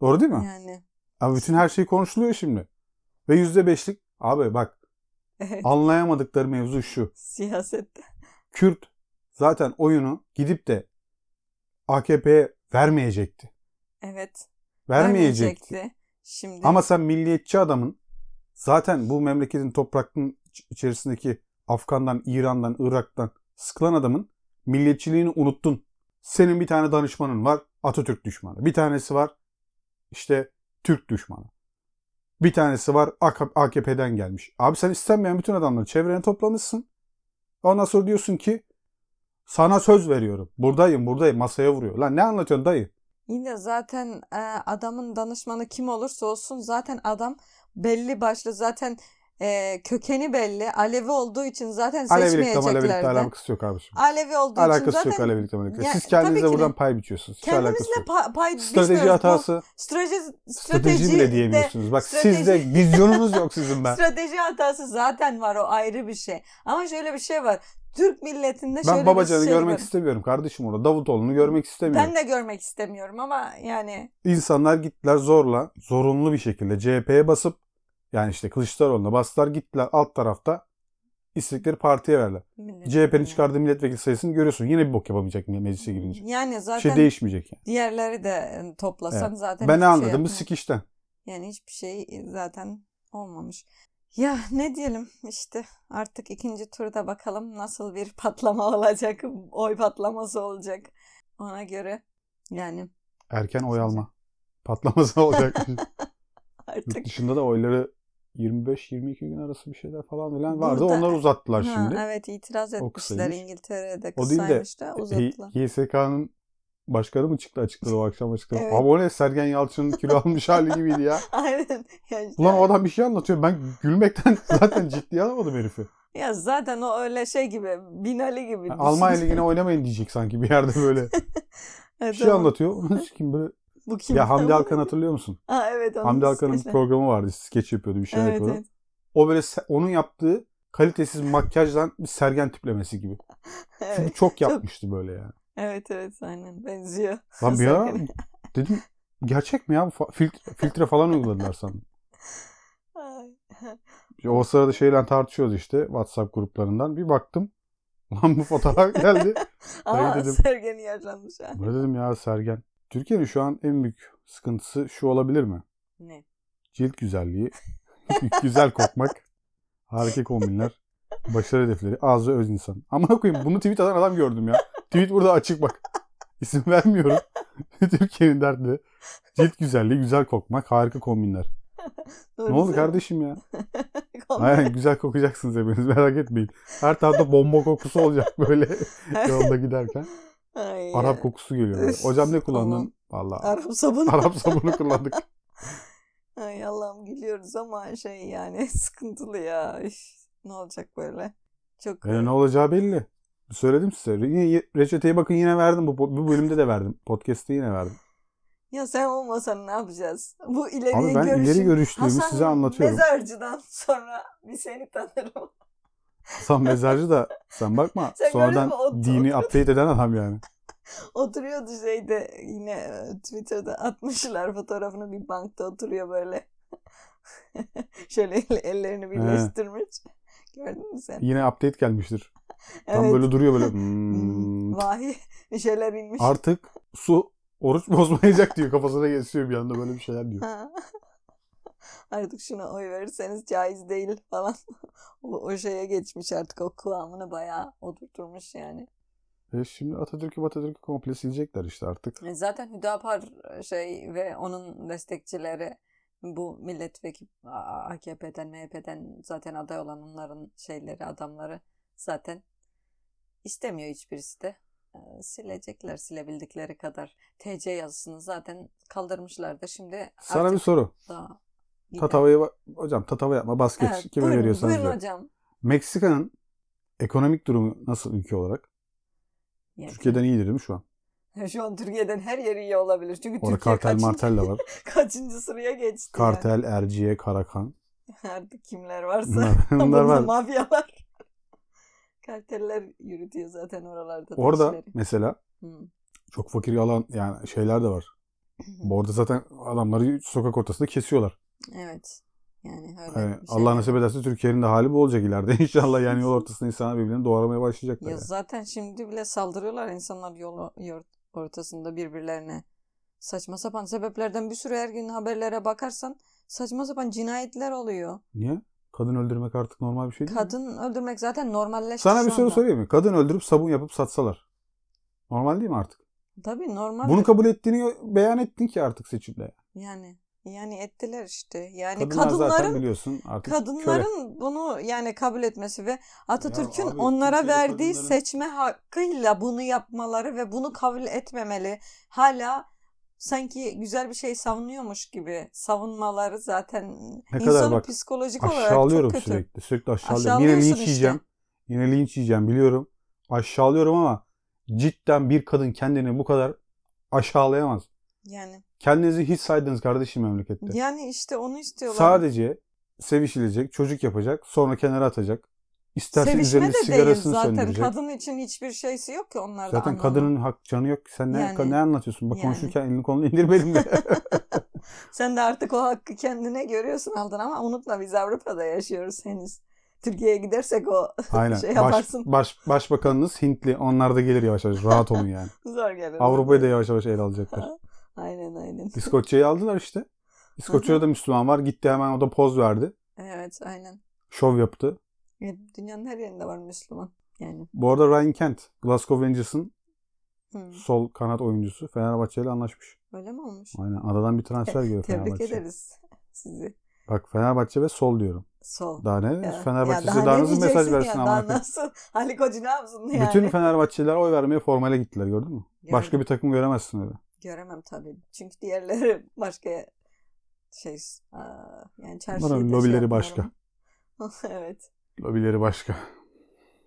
Speaker 1: Doğru değil mi?
Speaker 2: Yani.
Speaker 1: Abi bütün her şey konuşuluyor şimdi. Ve %5'lik abi bak
Speaker 2: Evet.
Speaker 1: anlayamadıkları mevzu şu.
Speaker 2: Siyasette.
Speaker 1: Kürt zaten oyunu gidip de AKP'ye vermeyecekti.
Speaker 2: Evet.
Speaker 1: Vermeyecekti.
Speaker 2: Şimdi.
Speaker 1: Ama sen milliyetçi adamın zaten bu memleketin topraklarının iç- içerisindeki Afgan'dan, İran'dan, Irak'tan sıkılan adamın milliyetçiliğini unuttun. Senin bir tane danışmanın var Atatürk düşmanı. Bir tanesi var işte Türk düşmanı. Bir tanesi var AK- AKP'den gelmiş. Abi sen istenmeyen bütün adamları çevrene toplamışsın. Ondan sonra diyorsun ki sana söz veriyorum. Buradayım buradayım masaya vuruyor. Lan ne anlatıyorsun dayı?
Speaker 2: Yine zaten e, adamın danışmanı kim olursa olsun zaten adam belli başlı zaten e, kökeni belli. Alevi olduğu için zaten
Speaker 1: Alevilikle Alevilikle
Speaker 2: seçmeyeceklerdi.
Speaker 1: alakası yok abiciğim.
Speaker 2: Alevi olduğu için
Speaker 1: Alakası
Speaker 2: zaten
Speaker 1: yok Alevilikle Malevilikle.
Speaker 2: Ya,
Speaker 1: Siz
Speaker 2: tabii
Speaker 1: kendinize
Speaker 2: ki de.
Speaker 1: buradan pay biçiyorsunuz. Hiç alakası
Speaker 2: kendimizle
Speaker 1: yok.
Speaker 2: pa- pay
Speaker 1: Strateji
Speaker 2: biçmiyoruz. Bu
Speaker 1: hatası,
Speaker 2: strateji,
Speaker 1: strateji, bile diyemiyorsunuz. Bak
Speaker 2: strateji-
Speaker 1: sizde vizyonunuz yok sizin ben.
Speaker 2: Strateji hatası zaten var o ayrı bir şey. Ama şöyle bir şey var. Türk milletinde şöyle
Speaker 1: Ben Babacan'ı
Speaker 2: bir şey
Speaker 1: görmek
Speaker 2: var.
Speaker 1: istemiyorum kardeşim orada. Davutoğlu'nu görmek istemiyorum.
Speaker 2: Ben de görmek istemiyorum ama yani
Speaker 1: İnsanlar gittiler zorla, zorunlu bir şekilde CHP'ye basıp yani işte Kılıçdaroğlu'na bastılar gittiler alt tarafta istedikleri partiye verdiler. CHP'nin çıkardığı milletvekili sayısını görüyorsun. Yine bir bok yapamayacak me- meclise girince.
Speaker 2: Yani
Speaker 1: Bir
Speaker 2: zaten
Speaker 1: şey değişmeyecek yani.
Speaker 2: diğerleri de ıı, toplasan zaten
Speaker 1: Ben
Speaker 2: hiçbir
Speaker 1: ne
Speaker 2: şey
Speaker 1: anladım bu
Speaker 2: yapmıyor.
Speaker 1: sikişten.
Speaker 2: Yani hiçbir şey zaten olmamış. Ya ne diyelim işte artık ikinci turda bakalım nasıl bir patlama olacak, oy patlaması olacak. Ona göre yani
Speaker 1: Erken oy alma. Patlaması olacak.
Speaker 2: artık
Speaker 1: Yurt dışında da oyları 25-22 gün arası bir şeyler falan filan vardı.
Speaker 2: Burada-
Speaker 1: Onları uzattılar
Speaker 2: Ha,
Speaker 1: şimdi.
Speaker 2: evet itiraz
Speaker 1: O
Speaker 2: etmişler
Speaker 1: kısaymış.
Speaker 2: İngiltere'de
Speaker 1: O değil de,
Speaker 2: kısaymış da uzattılar.
Speaker 1: YSK'nın başkanı mı çıktı açıkladı o akşam açıkladı.
Speaker 2: Evet.
Speaker 1: Abi o ne Sergen Yalçın'ın kilo almış hali gibiydi ya.
Speaker 2: Aynen. Yani
Speaker 1: Ulan o adam bir şey anlatıyor. Ben gülmekten zaten ciddiye alamadım herifi.
Speaker 2: Ya zaten o öyle şey gibi Binali gibi.
Speaker 1: Yani
Speaker 2: düşün.
Speaker 1: Almanya Ligi'ne oynamayın diyecek sanki bir yerde böyle.
Speaker 2: Evet,
Speaker 1: Bir şey
Speaker 2: ama
Speaker 1: anlatıyor. Onun kim böyle.
Speaker 2: Bu kim?
Speaker 1: Ya Hamdi Alkan hatırlıyor musun?
Speaker 2: Ha, evet, onun
Speaker 1: Hamdi Alkan'ın bir
Speaker 2: skeçleri.
Speaker 1: programı vardı. Skeç yapıyordu bir şeyler
Speaker 2: Evet,
Speaker 1: yapıyordu.
Speaker 2: evet.
Speaker 1: O böyle se- onun yaptığı kalitesiz makyajdan bir sergen tiplemesi gibi. Çünkü
Speaker 2: Evet,
Speaker 1: çok yapmıştı böyle yani.
Speaker 2: evet, evet, aynen benziyor.
Speaker 1: Lan bir ara
Speaker 2: Sergen.
Speaker 1: dedim gerçek mi ya? bu fa- Filtre, filtre falan uyguladılar sandım.
Speaker 2: Ay.
Speaker 1: İşte O sırada şeyle tartışıyoruz işte WhatsApp gruplarından. Bir baktım. Lan bu fotoğraf geldi.
Speaker 2: Ama
Speaker 1: dedim.
Speaker 2: Sergen'i yaşlanmış ha.
Speaker 1: Böyle dedim ya Sergen. Türkiye'nin şu an en büyük sıkıntısı şu olabilir mi?
Speaker 2: Ne?
Speaker 1: Cilt güzelliği, güzel kokmak, harika kombinler, başarı hedefleri, az ve öz insan. Ama koyayım bunu tweet atan adam gördüm ya. Tweet burada açık bak. İsim vermiyorum. Türkiye'nin derdi. Cilt güzelliği, güzel kokmak, harika kombinler. Ne oldu kardeşim ya?
Speaker 2: Komple-
Speaker 1: Aynen güzel kokacaksınız hepiniz merak etmeyin. Her tarafta bomba kokusu olacak böyle yolda giderken.
Speaker 2: Ay
Speaker 1: Arap
Speaker 2: ya.
Speaker 1: kokusu geliyor. böyle.
Speaker 2: Üf,
Speaker 1: Hocam ne kullandın?
Speaker 2: aman.
Speaker 1: Valla
Speaker 2: Arap sabunu.
Speaker 1: Arap sabunu kullandık.
Speaker 2: Ay Allah'ım gülüyoruz ama şey yani sıkıntılı ya. Üf, ne olacak böyle? Çok
Speaker 1: E, ne olacağı belli. Söyledim size. Yine reçeteyi bakın yine verdim. Bu, bu bölümde de verdim. Podcast'te yine verdim.
Speaker 2: Ya sen olmasan ne yapacağız? Bu ileriye
Speaker 1: Abi ben
Speaker 2: görüşün.
Speaker 1: ileri görüşlüğümü
Speaker 2: Hasan
Speaker 1: size anlatıyorum.
Speaker 2: Mezarcı'dan sonra bir seni tanırım.
Speaker 1: Hasan Mezarcı da sen bakma
Speaker 2: Sen
Speaker 1: sonradan
Speaker 2: gördün mü? O-
Speaker 1: dini update eden adam yani.
Speaker 2: Oturuyordu şeyde yine e, Twitter'da atmışlar fotoğrafını bir bankta oturuyor böyle. Şöyle el- ellerini birleştirmiş. Gördün mü sen?
Speaker 1: Yine update gelmiştir. Tam böyle duruyor böyle. "Hmm,
Speaker 2: Vahiy bir şeyler inmiş.
Speaker 1: artık su oruç bozmayacak diyor. Kafasına geçiyor bir anda böyle bir şeyler diyor.
Speaker 2: Ha. Artık şuna oy verirseniz caiz değil falan. o, o şeye geçmiş artık o kıvamını bayağı oturtmuş yani.
Speaker 1: E şimdi Atatürk'ü Atatürk'ü komple silecekler işte artık.
Speaker 2: E, Zaten Hüdapar e, şey ve onun destekçileri bu milletvekili A- A- AKP'den MHP'den zaten aday olan onların şeyleri adamları zaten istemiyor hiçbirisi de. E, Silecekler silebildikleri kadar. TC yazısını zaten kaldırmışlardı. Şimdi
Speaker 1: Sana
Speaker 2: artık
Speaker 1: bir soru.
Speaker 2: daha yine-
Speaker 1: Tatava'ya ba- hocam tatava yapma bas geç.
Speaker 2: Evet,
Speaker 1: Kime
Speaker 2: buyurun,
Speaker 1: veriyorsanız
Speaker 2: buyurun
Speaker 1: ver.
Speaker 2: hocam.
Speaker 1: Meksika'nın ekonomik durumu nasıl ülke olarak?
Speaker 2: Yani
Speaker 1: Türkiye'den iyidir değil mi şu an?
Speaker 2: Şu an Türkiye'den her yeri iyi olabilir. Çünkü
Speaker 1: Orada
Speaker 2: Türkiye
Speaker 1: kartel
Speaker 2: kaçın-
Speaker 1: martel de var.
Speaker 2: kaçıncı sıraya geçti yani.
Speaker 1: Kartel, Erciye, Karakan.
Speaker 2: Artık kimler varsa.
Speaker 1: Bunlar, bunlar
Speaker 2: Bunlar
Speaker 1: var.
Speaker 2: mafyalar. Karteller yürütüyor zaten oralarda. da
Speaker 1: Orada
Speaker 2: işleri.
Speaker 1: mesela
Speaker 2: Hı.
Speaker 1: çok fakir alan yani şeyler de var. Bu arada zaten adamları sokak ortasında kesiyorlar.
Speaker 2: evet. Yani öyle
Speaker 1: Yani
Speaker 2: bir şey.
Speaker 1: Allah nasip ederse Türkiye'nin de hali bu olacak ileride. İnşallah yani yol ortasında insanlar birbirini doğramaya başlayacaklar.
Speaker 2: Ya
Speaker 1: yani.
Speaker 2: zaten şimdi bile saldırıyorlar insanlar yolu yurt ortasında birbirlerine. Saçma sapan sebeplerden bir sürü her gün haberlere bakarsan saçma sapan cinayetler oluyor.
Speaker 1: Niye? Kadın öldürmek artık normal bir şey değil mi?
Speaker 2: Kadın öldürmek zaten normalleşti
Speaker 1: Sana bir
Speaker 2: şu
Speaker 1: soru
Speaker 2: anda.
Speaker 1: sorayım mı? Kadın öldürüp sabun yapıp satsalar. Normal değil mi artık?
Speaker 2: Tabii normal.
Speaker 1: Bunu kabul ettiğini beyan ettin ki artık seçimde.
Speaker 2: Yani yani ettiler işte. Yani
Speaker 1: Kadınlar zaten
Speaker 2: kadınların
Speaker 1: biliyorsun artık
Speaker 2: kadınların bunu yani kabul etmesi ve Atatürk'ün
Speaker 1: abi,
Speaker 2: onlara
Speaker 1: Türkiye'de
Speaker 2: verdiği
Speaker 1: kadınların-
Speaker 2: seçme hakkıyla bunu yapmaları ve bunu kabul etmemeli hala sanki güzel bir şey savunuyormuş gibi savunmaları zaten
Speaker 1: Ne kadar
Speaker 2: insanı
Speaker 1: bak,
Speaker 2: psikolojik olarak
Speaker 1: aşağılıyorum
Speaker 2: çok kötü.
Speaker 1: sürekli. Sürekli aşağılıyorum. Yine linç
Speaker 2: Aşağılıyorsun işte.
Speaker 1: yiyeceğim. Yine linç yiyeceğim biliyorum. Aşağılıyorum ama cidden bir kadın kendini bu kadar aşağılayamaz.
Speaker 2: Yani
Speaker 1: Kendinizi hiç saydınız kardeşim memlekette.
Speaker 2: yani işte onu istiyorlar.
Speaker 1: Sadece sevişilecek, çocuk yapacak, sonra kenara atacak. İsterse
Speaker 2: Sevişme
Speaker 1: üzerine
Speaker 2: de değil
Speaker 1: sigarasını
Speaker 2: zaten.
Speaker 1: söndürecek.
Speaker 2: Kadın için hiçbir şeysi yok ki onlarda
Speaker 1: Zaten
Speaker 2: anlamı.
Speaker 1: kadının hak canı yok ki. Sen ne,
Speaker 2: Yani.
Speaker 1: ne anlatıyorsun? Bak
Speaker 2: Yani.
Speaker 1: konuşurken elini kolunu indir benim de.
Speaker 2: Sen de artık o hakkı kendine görüyorsun aldın ama unutma biz Avrupa'da yaşıyoruz henüz. Türkiye'ye gidersek o
Speaker 1: Aynen.
Speaker 2: Şey
Speaker 1: baş,
Speaker 2: yaparsın.
Speaker 1: baş, başbakanınız Hintli. Onlar da gelir yavaş yavaş. Rahat olun yani.
Speaker 2: zor gelir.
Speaker 1: Avrupa'yı da yavaş yavaş ele alacaklar.
Speaker 2: Aynen aynen.
Speaker 1: İskoçya'yı aldılar işte. İskoçya'da da Müslüman var. Gitti hemen o da poz verdi.
Speaker 2: Evet aynen.
Speaker 1: Şov yaptı.
Speaker 2: Evet, Dünyanın her yerinde var Müslüman. Yani.
Speaker 1: Bu arada Ryan Kent, Glasgow Rangers'ın
Speaker 2: Hı.
Speaker 1: sol kanat oyuncusu Fenerbahçe ile anlaşmış.
Speaker 2: Öyle mi olmuş?
Speaker 1: Aynen adadan bir transfer geliyor
Speaker 2: Tebrik
Speaker 1: Fenerbahçe.
Speaker 2: ederiz sizi.
Speaker 1: Bak Fenerbahçe ve sol diyorum.
Speaker 2: Sol.
Speaker 1: Daha ne?
Speaker 2: Ya,
Speaker 1: Fenerbahçe
Speaker 2: ya
Speaker 1: size daha nasıl mesaj
Speaker 2: diyeceksin
Speaker 1: versin
Speaker 2: ya,
Speaker 1: amına
Speaker 2: daha
Speaker 1: koyayım?
Speaker 2: nasıl? Ali Koç ne yapsın yani?
Speaker 1: Bütün Fenerbahçeliler oy vermeye formale gittiler gördün mü? Başka
Speaker 2: Gördüm.
Speaker 1: bir takım göremezsin öyle.
Speaker 2: Göremem tabii. Çünkü diğerleri başka şey aa, yani çarşıyı da şey
Speaker 1: lobileri
Speaker 2: yapmıyorum.
Speaker 1: başka.
Speaker 2: evet.
Speaker 1: Lobileri başka.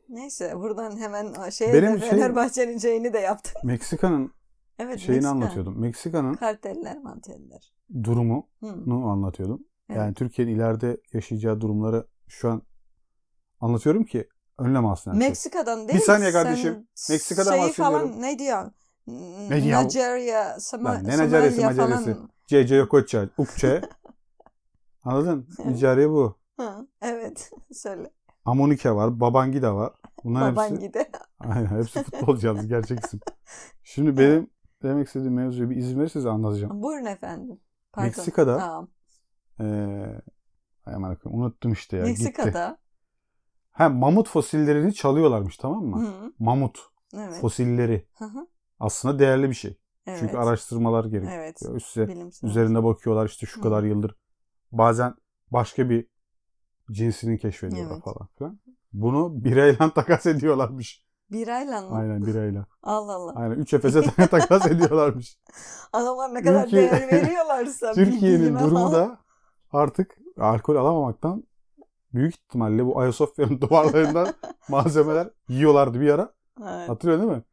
Speaker 2: Neyse buradan hemen şeye
Speaker 1: Benim
Speaker 2: de
Speaker 1: şey-
Speaker 2: Fenerbahçe'nin şeyini de yaptık.
Speaker 1: Meksika'nın
Speaker 2: Evet.
Speaker 1: şeyini
Speaker 2: Meksika.
Speaker 1: anlatıyordum. Meksika'nın
Speaker 2: Karteller, manteller.
Speaker 1: durumunu
Speaker 2: Hı.
Speaker 1: anlatıyordum.
Speaker 2: Evet.
Speaker 1: Yani Türkiye'nin ileride yaşayacağı durumları şu an anlatıyorum ki önlem alsın. her şey.
Speaker 2: Meksika'dan değil.
Speaker 1: saniye
Speaker 2: sen
Speaker 1: kardeşim. Meksika'dan
Speaker 2: şeyi
Speaker 1: bahsediyorum.
Speaker 2: falan ne diyor?
Speaker 1: Ne
Speaker 2: Ne
Speaker 1: diyor?
Speaker 2: Nigeria, Sama,
Speaker 1: Lan ne Nigerya'sı,
Speaker 2: Somalia
Speaker 1: Nigerya'sı?
Speaker 2: falan.
Speaker 1: CC Yokoça, Ukçe. Anladın? Nicari bu.
Speaker 2: Hı, evet söyle.
Speaker 1: Amonike var, Babangida var. Bunlar
Speaker 2: Baban
Speaker 1: hepsi.
Speaker 2: gide.
Speaker 1: Aynen hepsi futbolcu yalnız gerçek isim. Şimdi benim demek istediğim mevzuyu bir izin verirseniz anlatacağım.
Speaker 2: Buyurun efendim. Pardon.
Speaker 1: Meksika'da-
Speaker 2: Aa,
Speaker 1: Ee, ay aman akıyım, unuttum işte ya. Gitti.
Speaker 2: Meksika'da.
Speaker 1: Ha mamut fosillerini çalıyorlarmış tamam mı?
Speaker 2: Hı,
Speaker 1: Mamut
Speaker 2: evet.
Speaker 1: fosilleri.
Speaker 2: Hı hı,
Speaker 1: Aslında değerli bir şey.
Speaker 2: evet.
Speaker 1: Çünkü araştırmalar gerekiyor.
Speaker 2: Evet.
Speaker 1: Üstüne
Speaker 2: Bilimsel.
Speaker 1: üzerine bakıyorlar işte şu
Speaker 2: Hı.
Speaker 1: kadar yıldır Bazen başka bir cinsini keşfediyorlar
Speaker 2: Evet.
Speaker 1: falan filan. Bunu birayla takas ediyorlarmış.
Speaker 2: Birayla mı?
Speaker 1: Aynen birayla.
Speaker 2: Allah Allah.
Speaker 1: Aynen 3 Efes'e takas ediyorlarmış.
Speaker 2: Adamlar ne kadar
Speaker 1: Türkiye-
Speaker 2: değer veriyorlarsa.
Speaker 1: Türkiye'nin
Speaker 2: bildiğime
Speaker 1: durumu
Speaker 2: falan.
Speaker 1: da artık alkol alamamaktan büyük ihtimalle bu Ayasofya'nın duvarlarından malzemeler yiyorlardı bir ara.
Speaker 2: Evet.
Speaker 1: Hatırlıyor değil mi?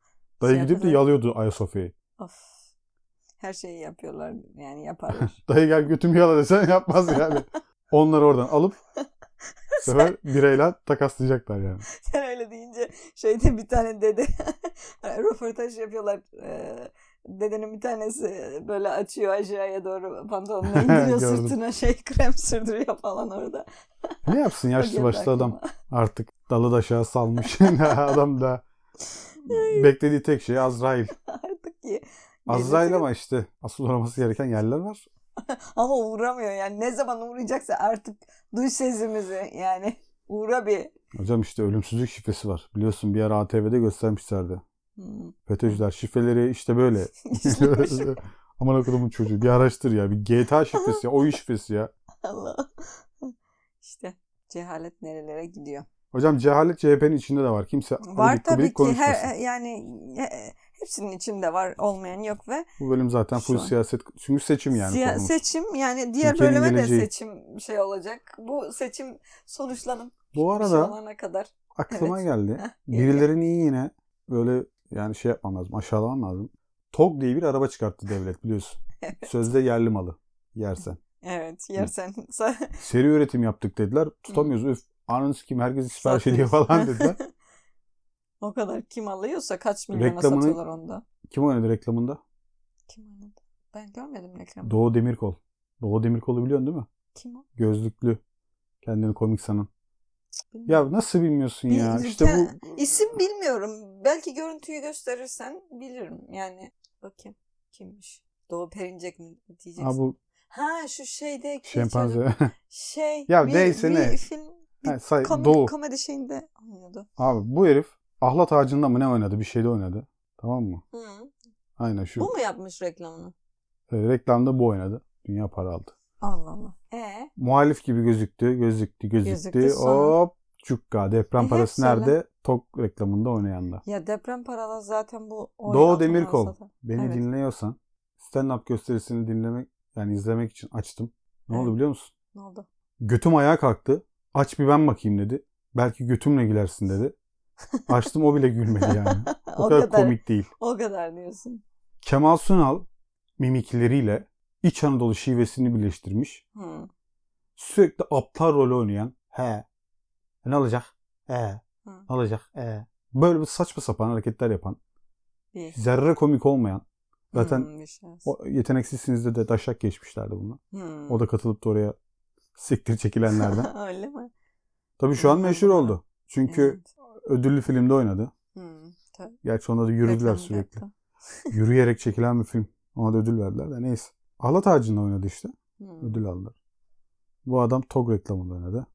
Speaker 1: Dayı
Speaker 2: Şey
Speaker 1: gidip de
Speaker 2: yapıyorlar.
Speaker 1: yalıyordu Ayasofya'yı.
Speaker 2: Of. Her şeyi yapıyorlar yani yaparlar.
Speaker 1: Dayı gel götümü yala desen yapmaz yani. Onları oradan alıp bu sefer birayla takaslayacaklar yani.
Speaker 2: Sen öyle deyince şeyde bir tane dede Hani röportaj yapıyorlar. Ee, dedenin bir tanesi böyle açıyor aşağıya doğru pantolonunu indiriyor
Speaker 1: Gördüm.
Speaker 2: sırtına şey krem sürdürüyor falan orada.
Speaker 1: Ne yapsın yaşlı
Speaker 2: Geldi
Speaker 1: başlı şey adam
Speaker 2: aklıma.
Speaker 1: artık dalı da aşağı salmış. adam da beklediği tek şey Azrail.
Speaker 2: Artık ki.
Speaker 1: Azrail ama işte asıl uğraması gereken yerler var.
Speaker 2: Ama uğramıyor yani ne zaman uğrayacaksa artık duy sesimizi yani uğra bir.
Speaker 1: Hocam işte ölümsüzlük şifresi var. Biliyorsun bir ara ATV'de göstermişlerdi.
Speaker 2: Hmm.
Speaker 1: FETÖ'cüler şifreleri işte böyle.
Speaker 2: İşlemiş.
Speaker 1: Aman okudumun çocuğu bir araştır ya. Bir GTA şifresi ya. Oyun şifresi ya.
Speaker 2: Allah. işte cehalet nerelere gidiyor.
Speaker 1: Hocam cehalet CHP'nin içinde de var. Kimse
Speaker 2: Var
Speaker 1: abidik
Speaker 2: tabii
Speaker 1: gubidik
Speaker 2: ki
Speaker 1: konuşmasın.
Speaker 2: her yani e, hepsinin içinde var olmayan yok ve
Speaker 1: Bu bölüm zaten full
Speaker 2: Şu an.
Speaker 1: siyaset. Çünkü seçim yani.
Speaker 2: siya-
Speaker 1: konumuz.
Speaker 2: seçim yani diğer
Speaker 1: Türkiye'nin
Speaker 2: bölüme
Speaker 1: geleceği.
Speaker 2: de seçim şey olacak. Bu seçim sonuçlanıp
Speaker 1: Bu
Speaker 2: bir şey
Speaker 1: arada
Speaker 2: olana kadar
Speaker 1: aklıma
Speaker 2: Evet.
Speaker 1: geldi.
Speaker 2: geliyor.
Speaker 1: Birilerini iyi yine böyle yani şey yapmam lazım. Aşağılamam lazım. TOG diye bir araba çıkarttı devlet biliyorsun.
Speaker 2: Evet.
Speaker 1: Sözde yerli malı. Yersen.
Speaker 2: evet yersen
Speaker 1: Seri üretim yaptık dediler. Tutamıyoruz. Üf anın kim herkes sipariş ediyor
Speaker 2: Satıyoruz.
Speaker 1: falan dediler.
Speaker 2: o kadar kim alıyorsa kaç milyona
Speaker 1: Reklamını-
Speaker 2: satıyorlar onda.
Speaker 1: Kim oynadı reklamında?
Speaker 2: Kim oynadı? Ben görmedim reklamı.
Speaker 1: Doğu Demirkol. Doğu Demirkol'u biliyorsun değil mi?
Speaker 2: kim o?
Speaker 1: Gözlüklü. Kendini komik sanan.
Speaker 2: Bilmiyorum.
Speaker 1: Ya nasıl bilmiyorsun
Speaker 2: Bil-
Speaker 1: ya? İşte bu
Speaker 2: İsim bilmiyorum. Belki görüntüyü gösterirsen bilirim. Yani bakayım kimmiş. Doğu Perincek mi diyeceksin?
Speaker 1: ha bu
Speaker 2: Ha şu şeyde geçiyorum.
Speaker 1: şempanze.
Speaker 2: Şey.
Speaker 1: Ya neyse
Speaker 2: bir
Speaker 1: ne.
Speaker 2: film bir
Speaker 1: Ha, say,
Speaker 2: komedi,
Speaker 1: Doğu.
Speaker 2: komedi şeyinde oynuyordu.
Speaker 1: Abi bu herif ahlat ağacında mı ne oynadı? Bir şeyde oynadı. Tamam mı?
Speaker 2: Hı.
Speaker 1: Aynen şu.
Speaker 2: Bu mu yapmış reklamını?
Speaker 1: e, reklamda bu oynadı. Dünya para aldı.
Speaker 2: Allah Allah. E
Speaker 1: Muhalif gibi gözüktü. Gözüktü gözüktü.
Speaker 2: Gözüktü, sonra-
Speaker 1: Hop cukka. Deprem
Speaker 2: E,
Speaker 1: parası
Speaker 2: hepsi öyle.
Speaker 1: nerede? Tok reklamında oynayanlar.
Speaker 2: ya deprem paralar zaten bu
Speaker 1: Doğu
Speaker 2: altından
Speaker 1: Demirkol.
Speaker 2: satan.
Speaker 1: Beni
Speaker 2: Evet.
Speaker 1: dinliyorsan stand-up gösterisini dinlemek yani izlemek için açtım. Ne
Speaker 2: Evet.
Speaker 1: oldu biliyor musun?
Speaker 2: Ne oldu?
Speaker 1: Götüm ayağa kalktı. Aç bir ben bakayım dedi. Belki götümle gülersin dedi. Açtım o bile gülmedi yani. O,
Speaker 2: o
Speaker 1: kadar,
Speaker 2: kadar
Speaker 1: komik değil.
Speaker 2: o kadar diyorsun.
Speaker 1: Kemal Sunal mimikleriyle İç Anadolu şivesini birleştirmiş.
Speaker 2: Hı.
Speaker 1: Sürekli aptal rolü oynayan he ne olacak? E ne
Speaker 2: Hı.
Speaker 1: olacak? E böyle bir saçma sapan hareketler yapan,
Speaker 2: Bir.
Speaker 1: zerre komik olmayan. Zaten
Speaker 2: Hı, bir şans.
Speaker 1: o yeteneksizsinizde de taşak geçmişlerdi bununla.
Speaker 2: Hı.
Speaker 1: O da katılıp da oraya siktir çekilenlerden.
Speaker 2: Hmm. Öyle mi?
Speaker 1: Tabii şu an meşhur oldu. Çünkü
Speaker 2: Evet.
Speaker 1: ödüllü filmde oynadı.
Speaker 2: Hı. Tabii.
Speaker 1: Gerçi onda da yürüdüler
Speaker 2: Reklamı
Speaker 1: sürekli.
Speaker 2: yaptı.
Speaker 1: Yürüyerek çekilen bir film. Ona da ödül verdiler de neyse. Ahlat ağacında oynadı işte.
Speaker 2: Hı.
Speaker 1: Ödül aldılar. Bu adam TOG reklamında oynadı.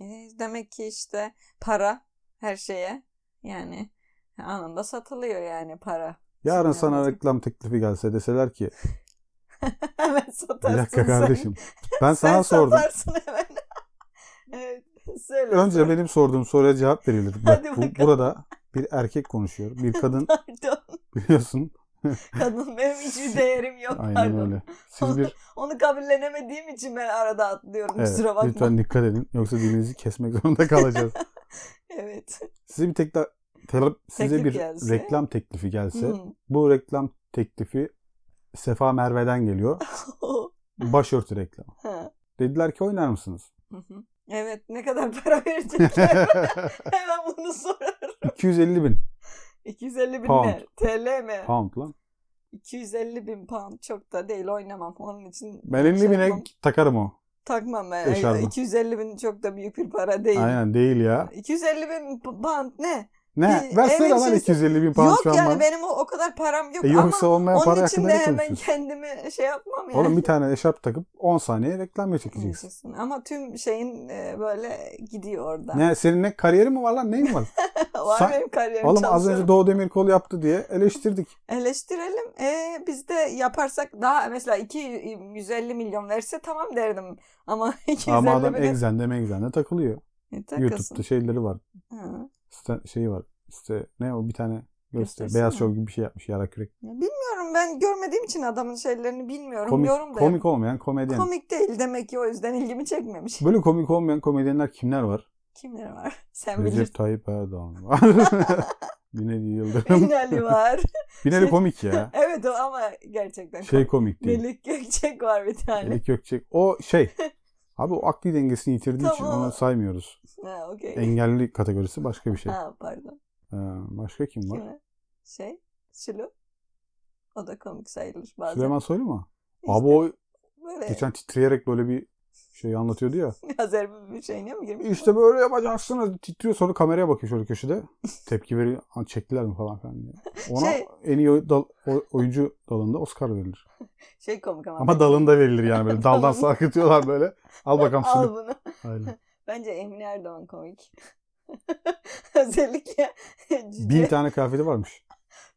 Speaker 2: E, demek ki işte para her şeye yani anında satılıyor yani para.
Speaker 1: Yarın
Speaker 2: Sen
Speaker 1: sana
Speaker 2: anladın.
Speaker 1: reklam teklifi gelse deseler ki
Speaker 2: hemen
Speaker 1: bir
Speaker 2: satarsın
Speaker 1: dakika kardeşim ben
Speaker 2: Sen,
Speaker 1: sana
Speaker 2: sen
Speaker 1: sordum.
Speaker 2: satarsın hemen. evet. Söyle.
Speaker 1: Önce
Speaker 2: söyle.
Speaker 1: benim sorduğum soruya cevap verilir. Bak,
Speaker 2: Hadi
Speaker 1: bu-
Speaker 2: bakalım.
Speaker 1: burada bir erkek konuşuyor. Bir kadın
Speaker 2: Pardon.
Speaker 1: biliyorsun.
Speaker 2: Kadın benim hiçbir değerim yok.
Speaker 1: Aynen
Speaker 2: pardon.
Speaker 1: öyle. Siz bir
Speaker 2: Onu kabullenemediğim için ben arada atlıyorum.
Speaker 1: Evet,
Speaker 2: Kusura bakma.
Speaker 1: lütfen dikkat edin. Yoksa dilinizi kesmek zorunda kalacağız.
Speaker 2: Evet.
Speaker 1: Size bir tekla, tele- size
Speaker 2: Teklif
Speaker 1: bir
Speaker 2: gelse.
Speaker 1: reklam teklifi gelse.
Speaker 2: Hmm.
Speaker 1: Bu reklam teklifi Sefa Merve'den geliyor. Başörtü reklamı.
Speaker 2: Ha.
Speaker 1: Dediler ki oynar mısınız?
Speaker 2: Hı hı. evet ne kadar para verecekler? hemen bunu sorarım.
Speaker 1: 250 bin
Speaker 2: 250 bin
Speaker 1: Pound.
Speaker 2: ne? TL mi?
Speaker 1: pound lan.
Speaker 2: 250 bin pound çok da değil oynamam. Onun için
Speaker 1: Ben 50
Speaker 2: şey
Speaker 1: bine
Speaker 2: yapmam.
Speaker 1: takarım o.
Speaker 2: takmam ben.
Speaker 1: Eşarbı.
Speaker 2: 250 bin çok da büyük bir para değil.
Speaker 1: Aynen değil ya.
Speaker 2: 250 bin p- pound ne?
Speaker 1: Ne?
Speaker 2: Bir-
Speaker 1: Versene
Speaker 2: evet,
Speaker 1: lan
Speaker 2: şey-
Speaker 1: 250 bin pound
Speaker 2: yok
Speaker 1: şu an
Speaker 2: yani
Speaker 1: bana.
Speaker 2: benim o, o kadar param yok
Speaker 1: E, yoksa
Speaker 2: ama
Speaker 1: olmayan para
Speaker 2: onun için
Speaker 1: hakkında
Speaker 2: de
Speaker 1: ne
Speaker 2: hemen
Speaker 1: konuşuyorsun?
Speaker 2: kendimi şey yapmam yani.
Speaker 1: Oğlum bir tane eşarp takıp 10 saniye reklamya çekeceksin.
Speaker 2: Haklısın. Ama tüm şeyin e, böyle gidiyor orada.
Speaker 1: Ne senin ne kariyerin mi var lan neyin var?
Speaker 2: Var
Speaker 1: Sen-
Speaker 2: benim kariyerim
Speaker 1: Oğlum az
Speaker 2: çalışıyorum.
Speaker 1: önce Doğu Demirkol yaptı diye eleştirdik.
Speaker 2: Eleştirelim. E, biz de yaparsak daha mesela 250 milyon verse tamam derdim. Ama 250
Speaker 1: Ama adam
Speaker 2: milyon
Speaker 1: egzende megzende takılıyor.
Speaker 2: E, takılsın.
Speaker 1: YouTube'da şeyleri var.
Speaker 2: Ha.
Speaker 1: Sta- şeyi var. İşte ne o bir tane göster.
Speaker 2: Göstersene.
Speaker 1: Beyaz şov gibi bir şey yapmış yarak yürek.
Speaker 2: Ya Bilmiyorum ben görmediğim için adamın şeylerini bilmiyorum.
Speaker 1: Komik,
Speaker 2: Yorum da
Speaker 1: komik
Speaker 2: yap-
Speaker 1: olmayan komedyen.
Speaker 2: komik değil demek ki o yüzden ilgimi çekmemiş.
Speaker 1: Böyle komik olmayan komedyenler kimler var?
Speaker 2: Kimler var? Sen bilirsin.
Speaker 1: Recep Tayyip Erdoğan var. Binali Yıldırım.
Speaker 2: Binali var.
Speaker 1: Binali
Speaker 2: Şey-
Speaker 1: komik ya.
Speaker 2: evet o ama gerçekten
Speaker 1: Şey
Speaker 2: komik.
Speaker 1: komik değil.
Speaker 2: Melik Gökçek var bir tane.
Speaker 1: Melik Gökçek. O şey. Abi o akli dengesini yitirdiği için
Speaker 2: Tamam.
Speaker 1: onu saymıyoruz.
Speaker 2: Ha okey.
Speaker 1: Engelli kategorisi başka bir şey.
Speaker 2: Ha pardon.
Speaker 1: Ee, başka kim var?
Speaker 2: Kime? Şey, Şilo. O da komik sayılır bazen.
Speaker 1: Süleyman Soylu mu?
Speaker 2: İşte
Speaker 1: Abi o
Speaker 2: böyle
Speaker 1: geçen titreyerek böyle bir şey anlatıyordu ya.
Speaker 2: Azerbaycan bir şeyine mi girmiş?
Speaker 1: İşte böyle yapacaksınız. Titriyor sonra kameraya bakıyor şöyle köşede. Tepki veriyor. "Aa, Çektiler mi falan filan diye. Ona
Speaker 2: Şey-
Speaker 1: en iyi oy- dal- oy- oyuncu dalında Oscar verilir.
Speaker 2: Şey komik ama.
Speaker 1: Ama dalında verilir yani böyle. Daldan sarkıtıyorlar böyle. Al bakalım
Speaker 2: Al
Speaker 1: şunu.
Speaker 2: bunu.
Speaker 1: Aynen.
Speaker 2: Bence Emine Erdoğan komik. Özellikle cüce.
Speaker 1: Bin tane kıyafeti varmış.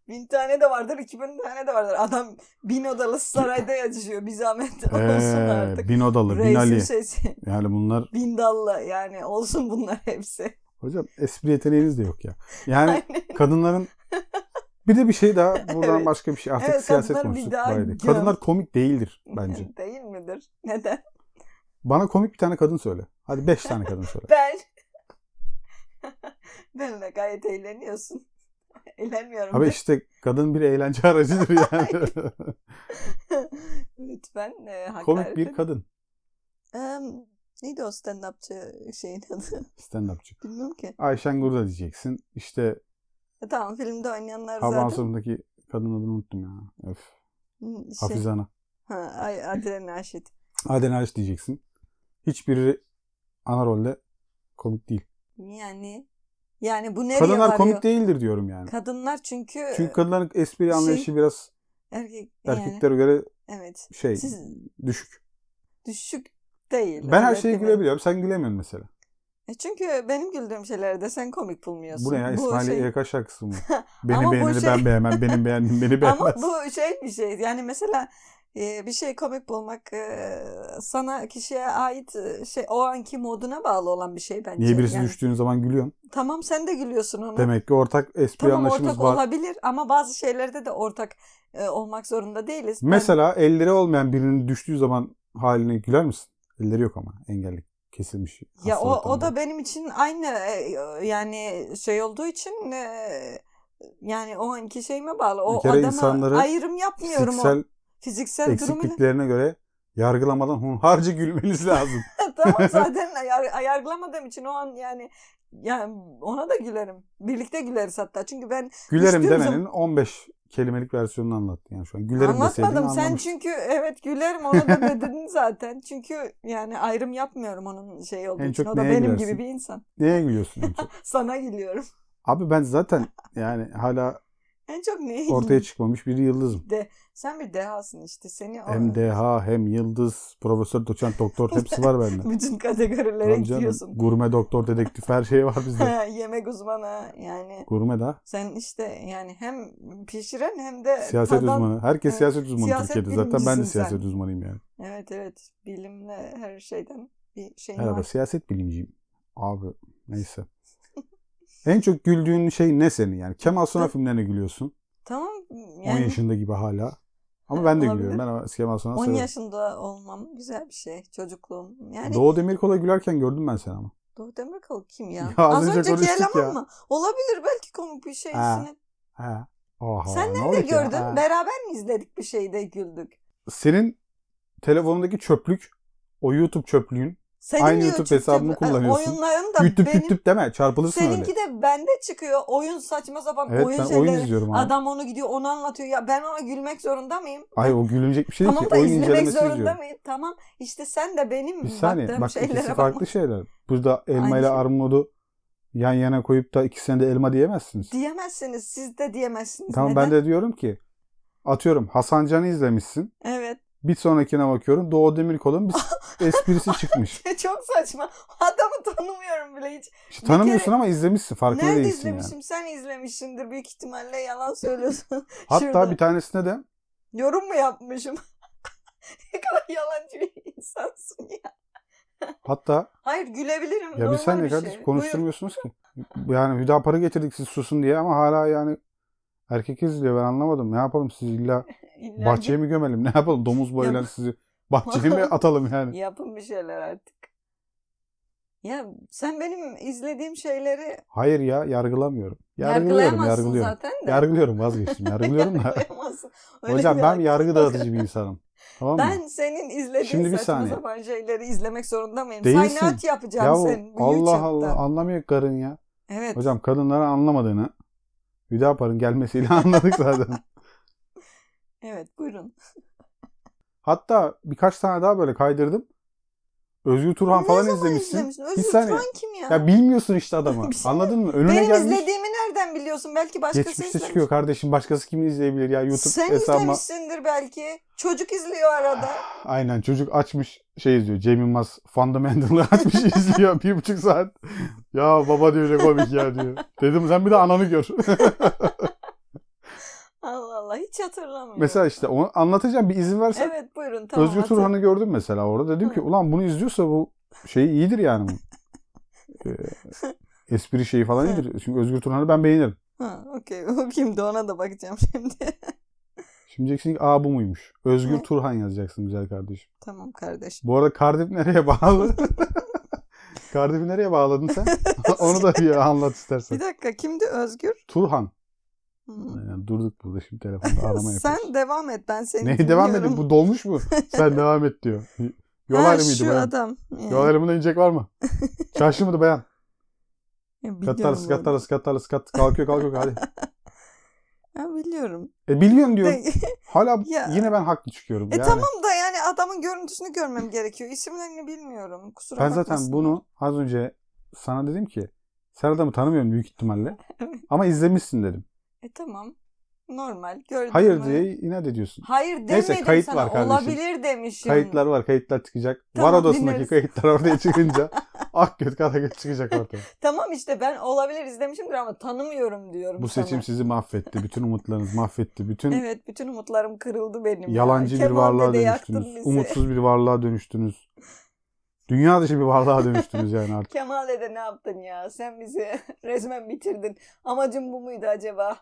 Speaker 2: Bin tane de vardır, iki bin tane de vardır. Adam bin odalı sarayda yaşıyor. Bir zahmet olsun
Speaker 1: Ee,
Speaker 2: artık.
Speaker 1: bin odalı, bin Ali.
Speaker 2: Reisin şeysi.
Speaker 1: Yani bunlar
Speaker 2: Bin dallı yani olsun bunlar hepsi.
Speaker 1: hocam espri yeteneğiniz de yok ya. Yani
Speaker 2: Aynen.
Speaker 1: kadınların bir de bir şey daha buradan
Speaker 2: Evet.
Speaker 1: başka bir şey artık
Speaker 2: Evet,
Speaker 1: siyaset
Speaker 2: kadınlar bir
Speaker 1: konuştuk.
Speaker 2: daha
Speaker 1: Bayağı değil.
Speaker 2: göm.
Speaker 1: Kadınlar komik değildir bence.
Speaker 2: Değil midir? Neden?
Speaker 1: Bana komik bir tane kadın söyle. Hadi beş tane kadın söyle.
Speaker 2: Ben. Benle gayet eğleniyorsun. Eğlenmiyorum.
Speaker 1: Abi
Speaker 2: de.
Speaker 1: işte kadın bir eğlence aracıdır yani.
Speaker 2: Lütfen e, hakaret
Speaker 1: komik bir
Speaker 2: et-
Speaker 1: kadın
Speaker 2: Em, neydi o stand-upçı şeyin adı?
Speaker 1: stand-upçı.
Speaker 2: Bilmiyorum ki.
Speaker 1: Ayşen Gurda diyeceksin. İşte
Speaker 2: E, tamam filmde oynayanlar
Speaker 1: Havan
Speaker 2: zaten.
Speaker 1: sorundaki kadın adını unuttum ya. Öf.
Speaker 2: Hı, Şey,
Speaker 1: Hafize Ana.
Speaker 2: Ha, ay, Adile Naşit.
Speaker 1: Aden Aliş diyeceksin. Hiçbiri ana rolde komik değil.
Speaker 2: Yani yani bu nereye
Speaker 1: Kadınlar
Speaker 2: varıyor?
Speaker 1: komik değildir diyorum yani.
Speaker 2: Kadınlar çünkü,
Speaker 1: Çünkü kadınların espri anlayışı biraz
Speaker 2: erkek Şey, yani,
Speaker 1: erkeklere göre
Speaker 2: evet.
Speaker 1: şey
Speaker 2: Siz
Speaker 1: düşük.
Speaker 2: düşük değil.
Speaker 1: Ben her
Speaker 2: öyle
Speaker 1: şeye
Speaker 2: değil mi?
Speaker 1: gülebiliyorum. Sen gülemiyorsun mesela.
Speaker 2: E çünkü benim güldüğüm şeylere de sen komik bulmuyorsun.
Speaker 1: Bu ne ya? İsmail
Speaker 2: şey-
Speaker 1: YK şarkısı mı? Beni
Speaker 2: Ama bu
Speaker 1: beğeneni
Speaker 2: şey-
Speaker 1: ben beğenmem. Benim beğendiğim beni beğenmez.
Speaker 2: Ama bu şey bir şey. Yani mesela e, bir şey komik bulmak e, sana kişiye ait e, şey o anki moduna bağlı olan bir şey bence.
Speaker 1: Niye birisi
Speaker 2: Yani
Speaker 1: düştüğün zaman gülüyorsun?
Speaker 2: Tamam sen de gülüyorsun ona.
Speaker 1: Demek ki ortak espri
Speaker 2: Tamam
Speaker 1: anlaşımız
Speaker 2: ortak
Speaker 1: var.
Speaker 2: olabilir ama bazı şeylerde de ortak e, olmak zorunda değiliz. Ben-
Speaker 1: Mesela elleri olmayan birinin düştüğü zaman haline güler misin? Elleri yok ama engelli kesilmiş.
Speaker 2: ya o, o
Speaker 1: hastalıktan
Speaker 2: da benim için aynı e, yani şey olduğu için e, yani o anki şeyime bağlı. O
Speaker 1: Bir kere
Speaker 2: adama
Speaker 1: insanları
Speaker 2: ayrım yapmıyorum o
Speaker 1: Fiziksel
Speaker 2: fiziksel durumuyla.
Speaker 1: eksikliklerine göre yargılamadan hunharca gülmeniz lazım.
Speaker 2: tamam zaten ayar, ayarlamadığım için o an yani yani ona da gülerim. Birlikte güleriz hatta. Çünkü ben
Speaker 1: Gülerim
Speaker 2: İstiyorum
Speaker 1: demenin 15 kelimelik versiyonunu anlattın yani şu an. Gülerim deseydin
Speaker 2: anlatmadım. Sen
Speaker 1: anlamıştın.
Speaker 2: çünkü evet gülerim ona da dedin zaten. Çünkü yani ayrım yapmıyorum onun şey olduğu
Speaker 1: En
Speaker 2: için.
Speaker 1: çok
Speaker 2: O da
Speaker 1: neye
Speaker 2: benim
Speaker 1: gülersin?
Speaker 2: gibi bir insan.
Speaker 1: Neye gülüyorsun en çok?
Speaker 2: Sana gülüyorum.
Speaker 1: Abi ben zaten yani hala
Speaker 2: En çok neye
Speaker 1: ortaya çıkmamış bir yıldızım.
Speaker 2: De, sen bir dehasın işte. Seni o-
Speaker 1: Hem deha hem yıldız, profesör, doçent, doktor hepsi var bende.
Speaker 2: bütün kategorilere
Speaker 1: Tabii canım,
Speaker 2: gidiyorsun.
Speaker 1: Gurme, doktor, dedektif her şey var bizde.
Speaker 2: Yemek uzmanı yani.
Speaker 1: Gurme da.
Speaker 2: Sen işte yani hem pişiren hem de
Speaker 1: Siyaset
Speaker 2: tadan
Speaker 1: uzmanı. Herkes
Speaker 2: Evet.
Speaker 1: siyaset uzmanı
Speaker 2: E, Siyaset
Speaker 1: Türkiye'de zaten. Ben de
Speaker 2: bilimcisin
Speaker 1: siyaset
Speaker 2: sen.
Speaker 1: uzmanıyım yani.
Speaker 2: Evet evet. Bilimle her şeyden bir şeyin
Speaker 1: Merhaba
Speaker 2: var.
Speaker 1: siyaset bilimciyim. Abi neyse. en çok güldüğün şey ne senin yani? Kemal Sunal
Speaker 2: Hı.
Speaker 1: filmlerine gülüyorsun.
Speaker 2: Tamam
Speaker 1: 10
Speaker 2: yani
Speaker 1: yaşında gibi hala. Ama
Speaker 2: Ha,
Speaker 1: ben de
Speaker 2: olabilir.
Speaker 1: gülüyorum. Ben ama Kemal Sunal'ı
Speaker 2: 10
Speaker 1: severim.
Speaker 2: yaşında olmam güzel bir şey. Çocukluğum. Yani Doğu,
Speaker 1: Doğu Demirkol'a gülerken gördüm ben seni ama.
Speaker 2: Demirkol kim ya?
Speaker 1: Ya az
Speaker 2: Az
Speaker 1: önce
Speaker 2: önceki
Speaker 1: konuştuk
Speaker 2: eleman
Speaker 1: ya.
Speaker 2: mı? Olabilir belki komik bir şey.
Speaker 1: Ha,
Speaker 2: sinir-
Speaker 1: He. Oha,
Speaker 2: Sen
Speaker 1: ne
Speaker 2: de
Speaker 1: oldu ki?
Speaker 2: gördün.
Speaker 1: Ha.
Speaker 2: Beraber mi izledik bir şeyde güldük?
Speaker 1: Senin telefonundaki çöplük o YouTube çöplüğün.
Speaker 2: Senin
Speaker 1: Aynı
Speaker 2: diyor
Speaker 1: YouTube
Speaker 2: çünkü-
Speaker 1: hesabını
Speaker 2: e,
Speaker 1: kullanıyorsun.
Speaker 2: Oyunların da
Speaker 1: Yüttüp
Speaker 2: benim.
Speaker 1: yüttüp deme çarpılırsın
Speaker 2: Seninki
Speaker 1: öyle.
Speaker 2: de bende çıkıyor. Oyun saçma sapan
Speaker 1: Evet
Speaker 2: oyun
Speaker 1: ben
Speaker 2: şeyleri.
Speaker 1: oyun izliyorum abi.
Speaker 2: Adam onu gidiyor onu anlatıyor. Ya ben ona gülmek zorunda mıyım?
Speaker 1: Ay o gülünecek bir şey değil
Speaker 2: Tamam
Speaker 1: ki.
Speaker 2: da
Speaker 1: Oyun
Speaker 2: izlemek
Speaker 1: incelemesi
Speaker 2: zorunda
Speaker 1: izliyorum.
Speaker 2: mıyım? Tamam. İşte sen de benim
Speaker 1: Bir saniye
Speaker 2: baktığım
Speaker 1: bak
Speaker 2: şeylere
Speaker 1: ikisi şey.
Speaker 2: bakma.
Speaker 1: farklı şeyler. Burada elma
Speaker 2: Aynı
Speaker 1: ile
Speaker 2: şey.
Speaker 1: armudu yan yana koyup da ikisine de elma diyemezsiniz.
Speaker 2: Diyemezsiniz. Siz de diyemezsiniz.
Speaker 1: tamam
Speaker 2: Neden?
Speaker 1: ben de diyorum ki atıyorum Hasan Can'ı izlemişsin.
Speaker 2: Evet.
Speaker 1: Bir sonrakine bakıyorum Doğu Demirkol'un bir esprisi çıkmış.
Speaker 2: Çok saçma. Adamı tanımıyorum bile hiç.
Speaker 1: İşte tanımıyorsun
Speaker 2: kere-
Speaker 1: ama izlemişsin farkında
Speaker 2: Nerede
Speaker 1: değilsin
Speaker 2: izlemişim?
Speaker 1: yani.
Speaker 2: Sen izlemişsindir. Büyük ihtimalle yalan söylüyorsun.
Speaker 1: Hatta
Speaker 2: Şurada.
Speaker 1: bir tanesine de
Speaker 2: Yorum mu yapmışım? ne kadar yalancı bir insansın ya.
Speaker 1: hatta
Speaker 2: Hayır gülebilirim.
Speaker 1: ya bir
Speaker 2: Normal
Speaker 1: saniye
Speaker 2: bir
Speaker 1: kardeş
Speaker 2: şey.
Speaker 1: konuşturmuyorsunuz ki. Yani Hüdapar'ı getirdik siz susun diye ama hala yani erkek izliyor ben anlamadım. Ne yapalım siz illa
Speaker 2: Buyurun. İlla
Speaker 1: bahçeye mi gömelim ne yapalım domuz boylar sizi bahçeye mi atalım yani.
Speaker 2: Yapın bir şeyler artık. Ya sen benim izlediğim şeyleri
Speaker 1: Hayır ya yargılamıyorum. Yargılıyorum
Speaker 2: yargılayamazsın
Speaker 1: yargılıyorum.
Speaker 2: zaten de.
Speaker 1: Yargılıyorum vazgeçtim yargılıyorum da.
Speaker 2: Yargılayamazsın. Öyle
Speaker 1: Hocam
Speaker 2: bir
Speaker 1: ben
Speaker 2: hakkın
Speaker 1: yargı
Speaker 2: yok.
Speaker 1: dağıtıcı bir insanım. Tamam mı?
Speaker 2: Ben senin izlediğin
Speaker 1: Şimdi bir
Speaker 2: saçma
Speaker 1: saniye.
Speaker 2: sapan şeyleri izlemek zorunda mıyım?
Speaker 1: Değilsin.
Speaker 2: Saynaat yapacağım
Speaker 1: Yahu,
Speaker 2: senin. bu
Speaker 1: Allah
Speaker 2: YouTube'da.
Speaker 1: Allah anlamıyor karın ya.
Speaker 2: Evet.
Speaker 1: Hocam kadınları anlamadığını Hüdapar'ın gelmesiyle anladık zaten.
Speaker 2: Evet buyurun.
Speaker 1: Hatta birkaç tane daha böyle kaydırdım. Özgür Turhan
Speaker 2: Ne
Speaker 1: falan
Speaker 2: zaman
Speaker 1: izlemişsin.
Speaker 2: izlemişsin? Özgür
Speaker 1: saniye.
Speaker 2: Turan kim ya?
Speaker 1: Ya bilmiyorsun işte adamı.
Speaker 2: Bir şey
Speaker 1: Anladın mı? Önüne
Speaker 2: benim
Speaker 1: gelmiş.
Speaker 2: izlediğimi nereden biliyorsun? Belki başkası
Speaker 1: Geçmişte
Speaker 2: izlemiş.
Speaker 1: çıkıyor kardeşim. Başkası kimi izleyebilir ya? YouTube
Speaker 2: Sen
Speaker 1: hesabıma.
Speaker 2: izlemişsindir belki. Çocuk izliyor arada.
Speaker 1: Aynen çocuk açmış şey izliyor. Cem Yılmaz Fundamental'ı açmış izliyor. Bir buçuk saat. Ya baba diyor ne komik ya diyor. Dedim sen bir de ananı gör.
Speaker 2: Allah Allah hiç hatırlamıyorum.
Speaker 1: mesela işte onu anlatacağım bir izin versen.
Speaker 2: Evet buyurun tamam.
Speaker 1: Özgür
Speaker 2: hatır-
Speaker 1: Turhan'ı gördüm mesela orada. Dedim ki
Speaker 2: Hı.
Speaker 1: ulan bunu izliyorsa bu şey iyidir yani. Bu, e, espri şeyi falan
Speaker 2: Hı.
Speaker 1: iyidir. Çünkü Özgür Turhan'ı ben beğenirim.
Speaker 2: Ha, okey. O kimdi ona da bakacağım şimdi.
Speaker 1: Şimdi diyeceksin ki aa bu muymuş. Özgür
Speaker 2: Hı.
Speaker 1: Turhan yazacaksın güzel kardeşim.
Speaker 2: tamam kardeş.
Speaker 1: Bu arada Cardiff nereye bağlı? Cardiff'i nereye bağladın sen? Onu da bir anlat istersen.
Speaker 2: Bir dakika kimdi Özgür?
Speaker 1: Turhan.
Speaker 2: Hmm.
Speaker 1: Yani durduk burada şimdi telefonda arama yapıyoruz.
Speaker 2: Sen devam et ben seni
Speaker 1: Neye devam
Speaker 2: dinliyorum.
Speaker 1: edin? Bu dolmuş mu? Sen devam et diyor. Yol
Speaker 2: ha,
Speaker 1: ayrımıydı
Speaker 2: şu
Speaker 1: bayan.
Speaker 2: adam. Yani,
Speaker 1: Yol ayrımına inecek var mı? Çarşı mıydı bayan?
Speaker 2: biliyorum
Speaker 1: Katlarız
Speaker 2: bu arada.
Speaker 1: katlarız katlarız kat. Kalkıyor kalkıyor hadi.
Speaker 2: Ha, biliyorum.
Speaker 1: E biliyorsun diyor.
Speaker 2: De-
Speaker 1: Hala
Speaker 2: Ya.
Speaker 1: yine ben haklı çıkıyorum.
Speaker 2: e
Speaker 1: yani.
Speaker 2: tamam da yani adamın görüntüsünü görmem gerekiyor. İsimlerini bilmiyorum. Kusura
Speaker 1: Ben
Speaker 2: bakmasın.
Speaker 1: zaten bunu az önce sana dedim ki sen adamı tanımıyorum büyük ihtimalle.
Speaker 2: Evet.
Speaker 1: Ama izlemişsin dedim.
Speaker 2: E tamam. Normal. Gördüm.
Speaker 1: Hayır diye inat ediyorsun.
Speaker 2: Hayır demedim
Speaker 1: Neyse, kayıt
Speaker 2: sana.
Speaker 1: var kardeşim.
Speaker 2: Olabilir demişim.
Speaker 1: Kayıtlar var, kayıtlar çıkacak.
Speaker 2: Tamam,
Speaker 1: var odasındaki
Speaker 2: dinleriz.
Speaker 1: kayıtlar ortaya çıkınca ak göt kara göt çıkacak ortaya.
Speaker 2: Tamam işte ben olabilir izlemişimdir ama tanımıyorum diyorum
Speaker 1: Bu
Speaker 2: sana.
Speaker 1: seçim sizi mahvetti. Bütün umutlarınız mahvetti. Bütün
Speaker 2: Evet bütün umutlarım kırıldı benim.
Speaker 1: yalancı
Speaker 2: ya.
Speaker 1: bir
Speaker 2: Kemal
Speaker 1: varlığa
Speaker 2: dede yaktın
Speaker 1: dönüştünüz.
Speaker 2: bizi.
Speaker 1: Umutsuz bir varlığa dönüştünüz. Dünya dışı bir varlığa dönüştünüz yani artık.
Speaker 2: Kemal dede ne yaptın ya? Sen bizi resmen bitirdin. Amacın bu muydu acaba?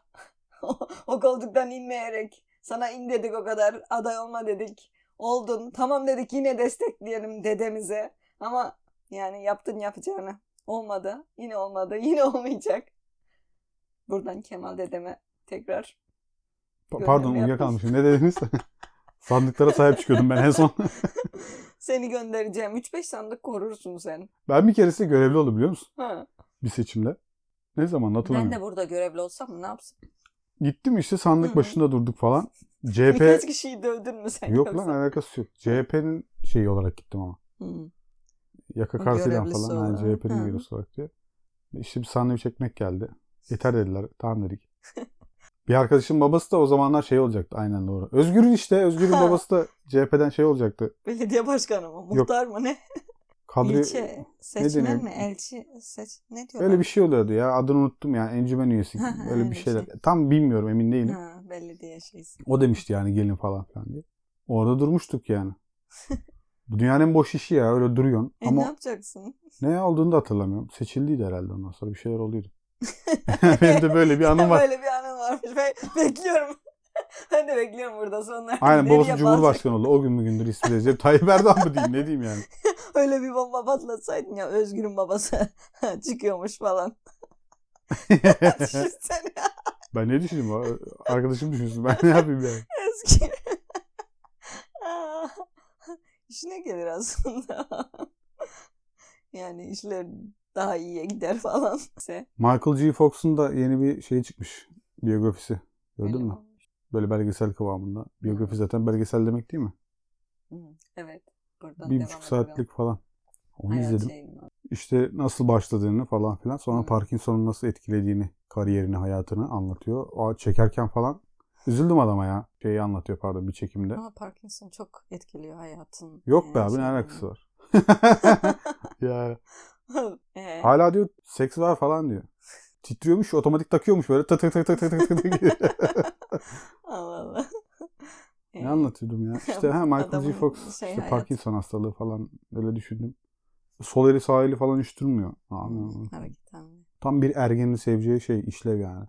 Speaker 2: o koltuktan inmeyerek. Sana in dedik o kadar. Aday olma dedik. Oldun. Tamam dedik yine destekleyelim dedemize. Ama yani yaptın yapacağını. Olmadı. Yine olmadı. Yine olmayacak. Buradan Kemal dedeme tekrar.
Speaker 1: Pa-
Speaker 2: Gönlüm
Speaker 1: pardon
Speaker 2: yapmış.
Speaker 1: uyuyakalmışım. Ne dediniz? Sandıklara sahip çıkıyordum ben en son.
Speaker 2: Seni göndereceğim. 3-5 sandık korursun sen.
Speaker 1: ben bir keresinde görevli oldum biliyor musun?
Speaker 2: Ha.
Speaker 1: Bir seçimde. Ne zaman
Speaker 2: Ben
Speaker 1: hatırlamıyorum.
Speaker 2: de burada görevli olsam ne yapsam?
Speaker 1: Gittim işte sandık
Speaker 2: Hı hı.
Speaker 1: başında durduk falan. CHP
Speaker 2: Birkaç kişiyi dövdün mü sen?
Speaker 1: yok lan
Speaker 2: yoksa? Hmm.
Speaker 1: alakası yok. CHP'nin şeyi olarak gittim ama.
Speaker 2: Hı.
Speaker 1: Yaka
Speaker 2: O
Speaker 1: kartıyla
Speaker 2: görevlisi
Speaker 1: falan. Yani
Speaker 2: olarak.
Speaker 1: CHP'nin
Speaker 2: Hı.
Speaker 1: görevlisi olarak diye. İşte bir sandviç ekmek geldi. Yeter dediler. Tamam dedik. bir arkadaşın babası da o zamanlar şey olacaktı. Aynen doğru. Özgür'ün işte. Özgür'ün
Speaker 2: Ha.
Speaker 1: babası da CHP'den şey olacaktı.
Speaker 2: Belediye başkanı mı?
Speaker 1: Yok.
Speaker 2: Muhtar mı ne?
Speaker 1: Kadri
Speaker 2: İlçe. Seçmen
Speaker 1: deniyor?
Speaker 2: mi? Elçi. Seç... Ne diyorlar?
Speaker 1: Öyle bir şey oluyordu ya. Adını unuttum yani. Encümen üyesi.
Speaker 2: Ha,
Speaker 1: gibi. Öyle
Speaker 2: öyle
Speaker 1: bir
Speaker 2: bir
Speaker 1: şeyler. Tam bilmiyorum emin değilim.
Speaker 2: şey. Ha, belediye şeysi.
Speaker 1: O demişti yani gelin falan filan diye. Orada durmuştuk yani. Bu dünyanın en boş işi ya öyle duruyorsun.
Speaker 2: E ne
Speaker 1: Ama
Speaker 2: yapacaksın?
Speaker 1: ne olduğunu da hatırlamıyorum. Seçildiydi herhalde ondan sonra bir şeyler oluyordu. Benim de böyle bir anım var.
Speaker 2: Böyle bir anın varmış. Ben bekliyorum. ben de bekliyorum burada sonra.
Speaker 1: Aynen
Speaker 2: Nereye
Speaker 1: babası
Speaker 2: bağlı-
Speaker 1: Cumhurbaşkanı oldu. O gün bugündür ismi Recep Tayyip Erdoğan mı diyeyim ne diyeyim yani.
Speaker 2: Öyle bir bomba patlatsaydın ya Özgür'ün babası çıkıyormuş falan. Düşünsene
Speaker 1: ben ne düşüneyim? abi? Arkadaşım düşünsün ben ne yapayım yani.
Speaker 2: Özgür. Aa, İşine gelir aslında. yani işler daha iyiye gider falan.
Speaker 1: Michael G. Fox'un da yeni bir şey çıkmış. Biyografisi. Gördün mü? Böyle belgesel kıvamında. Biyografi zaten belgesel demek değil mi?
Speaker 2: Evet. Buradan
Speaker 1: Bir
Speaker 2: devam
Speaker 1: buçuk
Speaker 2: edelim.
Speaker 1: saatlik falan. Onu
Speaker 2: Hayat
Speaker 1: izledim.
Speaker 2: şeyini-
Speaker 1: işte nasıl başladığını falan filan. Sonra
Speaker 2: Hı.
Speaker 1: Parkinson'un nasıl etkilediğini, kariyerini, hayatını anlatıyor. Aa, çekerken falan üzüldüm adama ya. Şeyi anlatıyor pardon bir çekimde.
Speaker 2: Ama Parkinson çok etkiliyor hayatın.
Speaker 1: Yok be
Speaker 2: yani
Speaker 1: abi ne
Speaker 2: şeyini.
Speaker 1: alakası var? ya
Speaker 2: Ee,
Speaker 1: hala diyor seks var falan diyor. Titriyormuş, otomatik takıyormuş böyle tak tak tak tak tak tak tak.
Speaker 2: Allah Allah. Ee,
Speaker 1: ne anlatıyordum ya? İşte ha Michael J.
Speaker 2: Adamın
Speaker 1: Fox
Speaker 2: şey
Speaker 1: işte
Speaker 2: hayatı.
Speaker 1: Parkinson hastalığı falan öyle düşündüm. Sol eli sağ eli falan hiç durmuyor. Aa, ne-
Speaker 2: Hareket hamle.
Speaker 1: Tam bir ergenin seveceği şey işlev yani.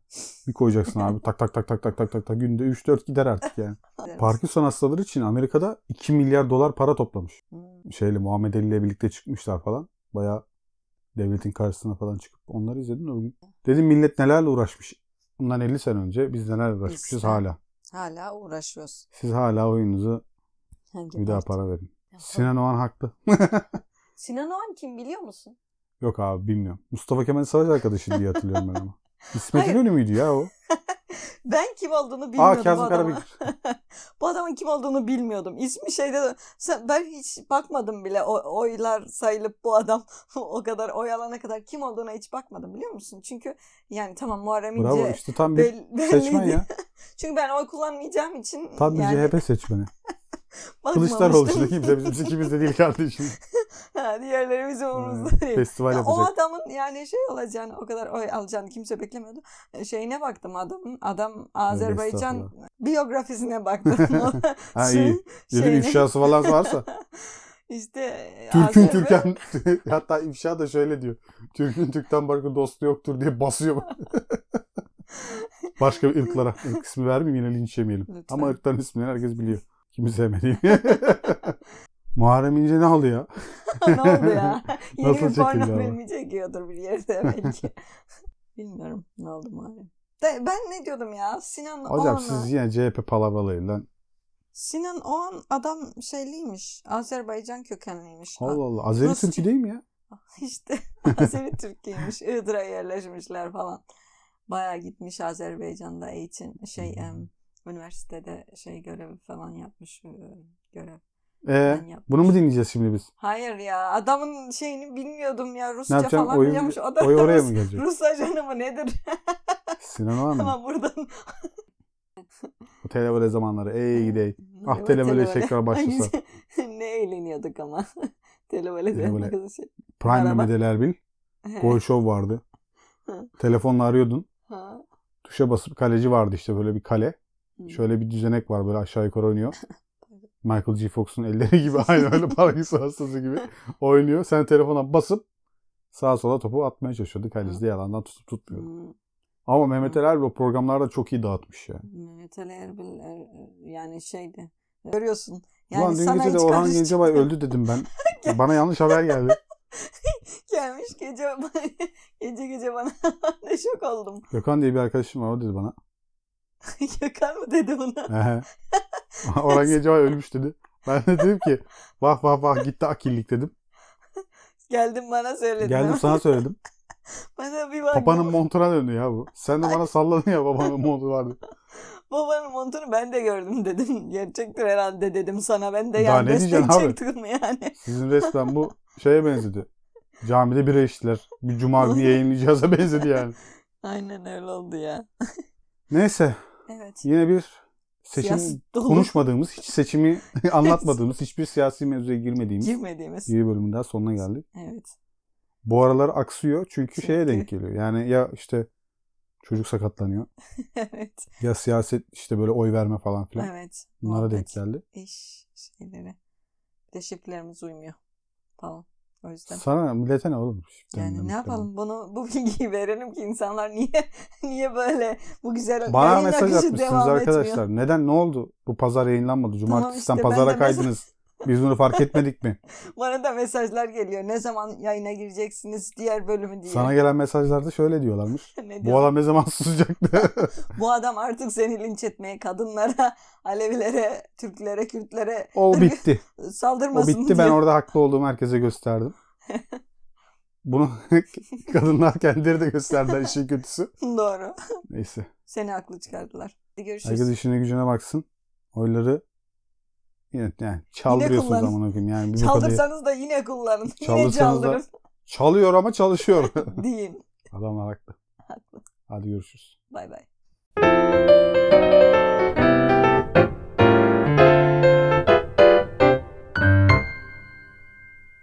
Speaker 1: Bir koyacaksın abi tak tak tak tak tak tak tak tak günde 3-4 gider artık yani.
Speaker 2: Evet.
Speaker 1: Parkinson hastaları için Amerika'da 2 milyar dolar para toplamış.
Speaker 2: Hmm.
Speaker 1: Şeyle Muhammed Ali ile birlikte çıkmışlar falan. Baya devletin karşısına falan çıkıp onları izledin mi? o gün? Dedim millet nelerle uğraşmış. Bundan 50 sene önce biz nelerle uğraşmışız
Speaker 2: İşte.
Speaker 1: hala.
Speaker 2: Hala uğraşıyoruz.
Speaker 1: Siz hala oyununuzu
Speaker 2: Hangi
Speaker 1: bir daha
Speaker 2: part?
Speaker 1: para verin.
Speaker 2: Ya,
Speaker 1: Sinan Oğan haklı.
Speaker 2: Sinan Oğan kim biliyor musun?
Speaker 1: Yok abi bilmiyorum. Mustafa Kemal Savaş arkadaşı diye hatırlıyorum ben ama. İsmet
Speaker 2: Hayır.
Speaker 1: İnönü müydü ya o?
Speaker 2: Ben kim olduğunu bilmiyordum
Speaker 1: Aa
Speaker 2: bu
Speaker 1: Kazım
Speaker 2: adamın.
Speaker 1: Karabekir.
Speaker 2: bu adamın kim olduğunu bilmiyordum. İsmi şeyde de- sen- ben hiç bakmadım bile. O, oylar sayılıp bu adam o kadar oy alana kadar kim olduğuna hiç bakmadım biliyor musun? Çünkü yani tamam Muharrem İnce
Speaker 1: Bravo işte tam bir
Speaker 2: bel- belliydi.
Speaker 1: seçmen ya.
Speaker 2: Çünkü ben oy kullanmayacağım için
Speaker 1: Tam bir
Speaker 2: yani
Speaker 1: CHP seçmeni.
Speaker 2: bakmamıştım.
Speaker 1: Kılıçdaroğlu işte kimse bizim ikimizde değil kardeşim.
Speaker 2: Ha, Diğerleri bizim
Speaker 1: Hmm,
Speaker 2: umurumuzda değil.
Speaker 1: Festival
Speaker 2: Ya o
Speaker 1: yapacak.
Speaker 2: adamın yani şey olacağını o kadar oy alacağını kimse beklemiyordu. E, Şeyine baktım adamın. Adam Azerbaycan
Speaker 1: estağfurullah.
Speaker 2: biyografisine baktım.
Speaker 1: Ha
Speaker 2: Şey-
Speaker 1: iyi. Dedim
Speaker 2: şeyine-
Speaker 1: ifşası falan varsa.
Speaker 2: işte
Speaker 1: Türk'ün
Speaker 2: Azerba-
Speaker 1: Türkan. Hatta ifşa da şöyle diyor. Türk'ün Türk'ten başka dostu yoktur diye basıyor. başka ırklara. Irk ismi vermeyeyim yine linç yemeyelim.
Speaker 2: Lütfen.
Speaker 1: Ama ırkların isimlerini herkes biliyor. Kimi sevmediğini. Muharrem İnce ne halı ya?
Speaker 2: ne oldu ya? Yeni
Speaker 1: Nasıl
Speaker 2: bir porno
Speaker 1: çekildi ama?
Speaker 2: filmi çekiyordur bir yerde belki. Bilmiyorum ne oldu Muharrem. De- ben ne diyordum ya? Sinan
Speaker 1: Hocam
Speaker 2: Oğan'a-
Speaker 1: siz yine CHP palavralayın lan.
Speaker 2: Sinan Oğan adam şeyliymiş. Azerbaycan kökenliymiş.
Speaker 1: Allah Allah. Azeri
Speaker 2: Nasıl
Speaker 1: Türk'ü değil mi ya?
Speaker 2: İşte Azeri Türkiye'ymiş. Iğdır'a yerleşmişler falan. Bayağı gitmiş Azerbaycan'da eğitim şey em,
Speaker 1: Hmm.
Speaker 2: üniversitede şey görevi falan yapmış e, görev.
Speaker 1: Ee,
Speaker 2: falan yapmış.
Speaker 1: bunu mu dinleyeceğiz şimdi biz?
Speaker 2: Hayır ya adamın şeyini bilmiyordum ya
Speaker 1: Ne
Speaker 2: Rusça
Speaker 1: yapacaksın?
Speaker 2: falan
Speaker 1: Oy,
Speaker 2: biliyormuş. O da
Speaker 1: oy oraya
Speaker 2: Rus,
Speaker 1: mı Hmm. gelecek?
Speaker 2: Rus ajanı mı nedir?
Speaker 1: Sinan Oğan mı?
Speaker 2: Ama buradan.
Speaker 1: Bu televole zamanları. Ey gidey. Ah,
Speaker 2: Evet,
Speaker 1: televole
Speaker 2: televole.
Speaker 1: tekrar başlasa.
Speaker 2: şey. ne eğleniyorduk ama. televole.
Speaker 1: Televole.
Speaker 2: televole. Şey.
Speaker 1: Prime
Speaker 2: Merhaba.
Speaker 1: Mehmet Ali Erbil. Gol Show vardı.
Speaker 2: Hı.
Speaker 1: Telefonla arıyordun.
Speaker 2: Ha. Hmm.
Speaker 1: Tuşa basıp kaleci vardı işte böyle bir kale.
Speaker 2: Hı.
Speaker 1: Şöyle bir düzenek var böyle aşağı yukarı oynuyor. Michael G. Fox'un elleri gibi aynı öyle Parkinson hastası gibi oynuyor. Sen telefona basıp sağa sola topu atmaya çalışıyordu. Kaleci de yalandan tutup tutmuyor.
Speaker 2: Hı.
Speaker 1: Ama Mehmet Ali Erbil o programlarda çok iyi dağıtmış ya.
Speaker 2: Mehmet Ali Erbil e, yani şeydi. Görüyorsun. Yani
Speaker 1: Yani Ulan dün
Speaker 2: sana
Speaker 1: gece de
Speaker 2: hiç
Speaker 1: Orhan
Speaker 2: karışık-
Speaker 1: Gencebay öldü dedim ben. Bana yanlış haber geldi.
Speaker 2: Gelmiş gece gece gece bana ne şok oldum.
Speaker 1: Gökhan diye bir arkadaşım var o dedi bana.
Speaker 2: Gökhan mı dedi buna?
Speaker 1: Ehe. Orhan Gencebay ölmüş dedi. Ben de dedim ki vah vah vah gitti akillik dedim.
Speaker 2: Geldim bana söyledin.
Speaker 1: Geldim sana söyledim.
Speaker 2: Bana bir baktım.
Speaker 1: Babanın montuna döndü ya bu. Sen de bana salladın ya babanın montu vardı.
Speaker 2: Babanın montunu ben de gördüm dedim. Gerçektir herhalde dedim sana. Ben de
Speaker 1: Daha
Speaker 2: yani
Speaker 1: ne diyeceksin
Speaker 2: destek
Speaker 1: abi?
Speaker 2: çektim yani.
Speaker 1: Sizin resmen bu şeye benzedi. Camide bira içtiler. Bir cuma günü yayınlayacağıza benzedi yani.
Speaker 2: Aynen öyle oldu ya.
Speaker 1: Neyse
Speaker 2: Evet.
Speaker 1: yine bir seçim
Speaker 2: Siyasi dolu
Speaker 1: konuşmadığımız, hiç seçimi anlatmadığımız, hiçbir siyasi mevzuya girmediğimiz
Speaker 2: girmediğimiz.
Speaker 1: bir bölümün daha sonuna geldik.
Speaker 2: Evet.
Speaker 1: Bu aralar aksıyor çünkü şeye
Speaker 2: Çünkü-
Speaker 1: denk geliyor. Yani ya işte çocuk sakatlanıyor
Speaker 2: evet.
Speaker 1: ya siyaset işte böyle oy verme falan filan.
Speaker 2: Evet.
Speaker 1: Bunlara denk
Speaker 2: Muhabbet.
Speaker 1: geldi.
Speaker 2: iş şeyleri. Bir de şifrelerimiz uymuyor falan. O yüzden.
Speaker 1: Sana millete ne oğlum? Şiften
Speaker 2: Yani ne
Speaker 1: demişler.
Speaker 2: yapalım bunu bu bilgiyi verelim ki insanlar niye niye böyle bu güzel
Speaker 1: Bana
Speaker 2: yayın
Speaker 1: mesaj
Speaker 2: akışı
Speaker 1: atmışsınız
Speaker 2: devam
Speaker 1: arkadaşlar.
Speaker 2: etmiyor.
Speaker 1: Neden ne oldu? Bu pazar yayınlanmadı. Cumartesiden
Speaker 2: işte, ben
Speaker 1: pazara
Speaker 2: de mesaj-
Speaker 1: kaydınız. Biz bunu fark etmedik mi?
Speaker 2: Bana da mesajlar geliyor. Ne zaman yayına gireceksiniz diğer bölümü diye.
Speaker 1: Sana gelen mesajlarda şöyle diyorlarmış.
Speaker 2: ne
Speaker 1: Bu
Speaker 2: diyor?
Speaker 1: adam ne zaman susacaktı?
Speaker 2: Bu adam artık seni linç etmeye kadınlara, Alevilere, Türklere, Kürtlere
Speaker 1: o bitti. O
Speaker 2: saldırmasın
Speaker 1: bitti. Ben
Speaker 2: diye.
Speaker 1: orada haklı olduğumu herkese gösterdim. Bunu kadınlar kendileri de gösterdiler işin kötüsü.
Speaker 2: Doğru.
Speaker 1: Neyse.
Speaker 2: Seni haklı çıkardılar. Hadi görüşürüz.
Speaker 1: Herkes işine gücüne baksın. Oyları yine yani çaldırıyorsunuz
Speaker 2: kullanın.
Speaker 1: amına koyayım. Yani bir bu kadar
Speaker 2: Çaldırsanız da yine kullanın. Yine
Speaker 1: Çaldırsanız da-
Speaker 2: çaldırın.
Speaker 1: Çalıyor ama çalışıyor.
Speaker 2: Diyeyim.
Speaker 1: Adamlar haklı.
Speaker 2: Haklı.
Speaker 1: Hadi görüşürüz.
Speaker 2: Bay bay.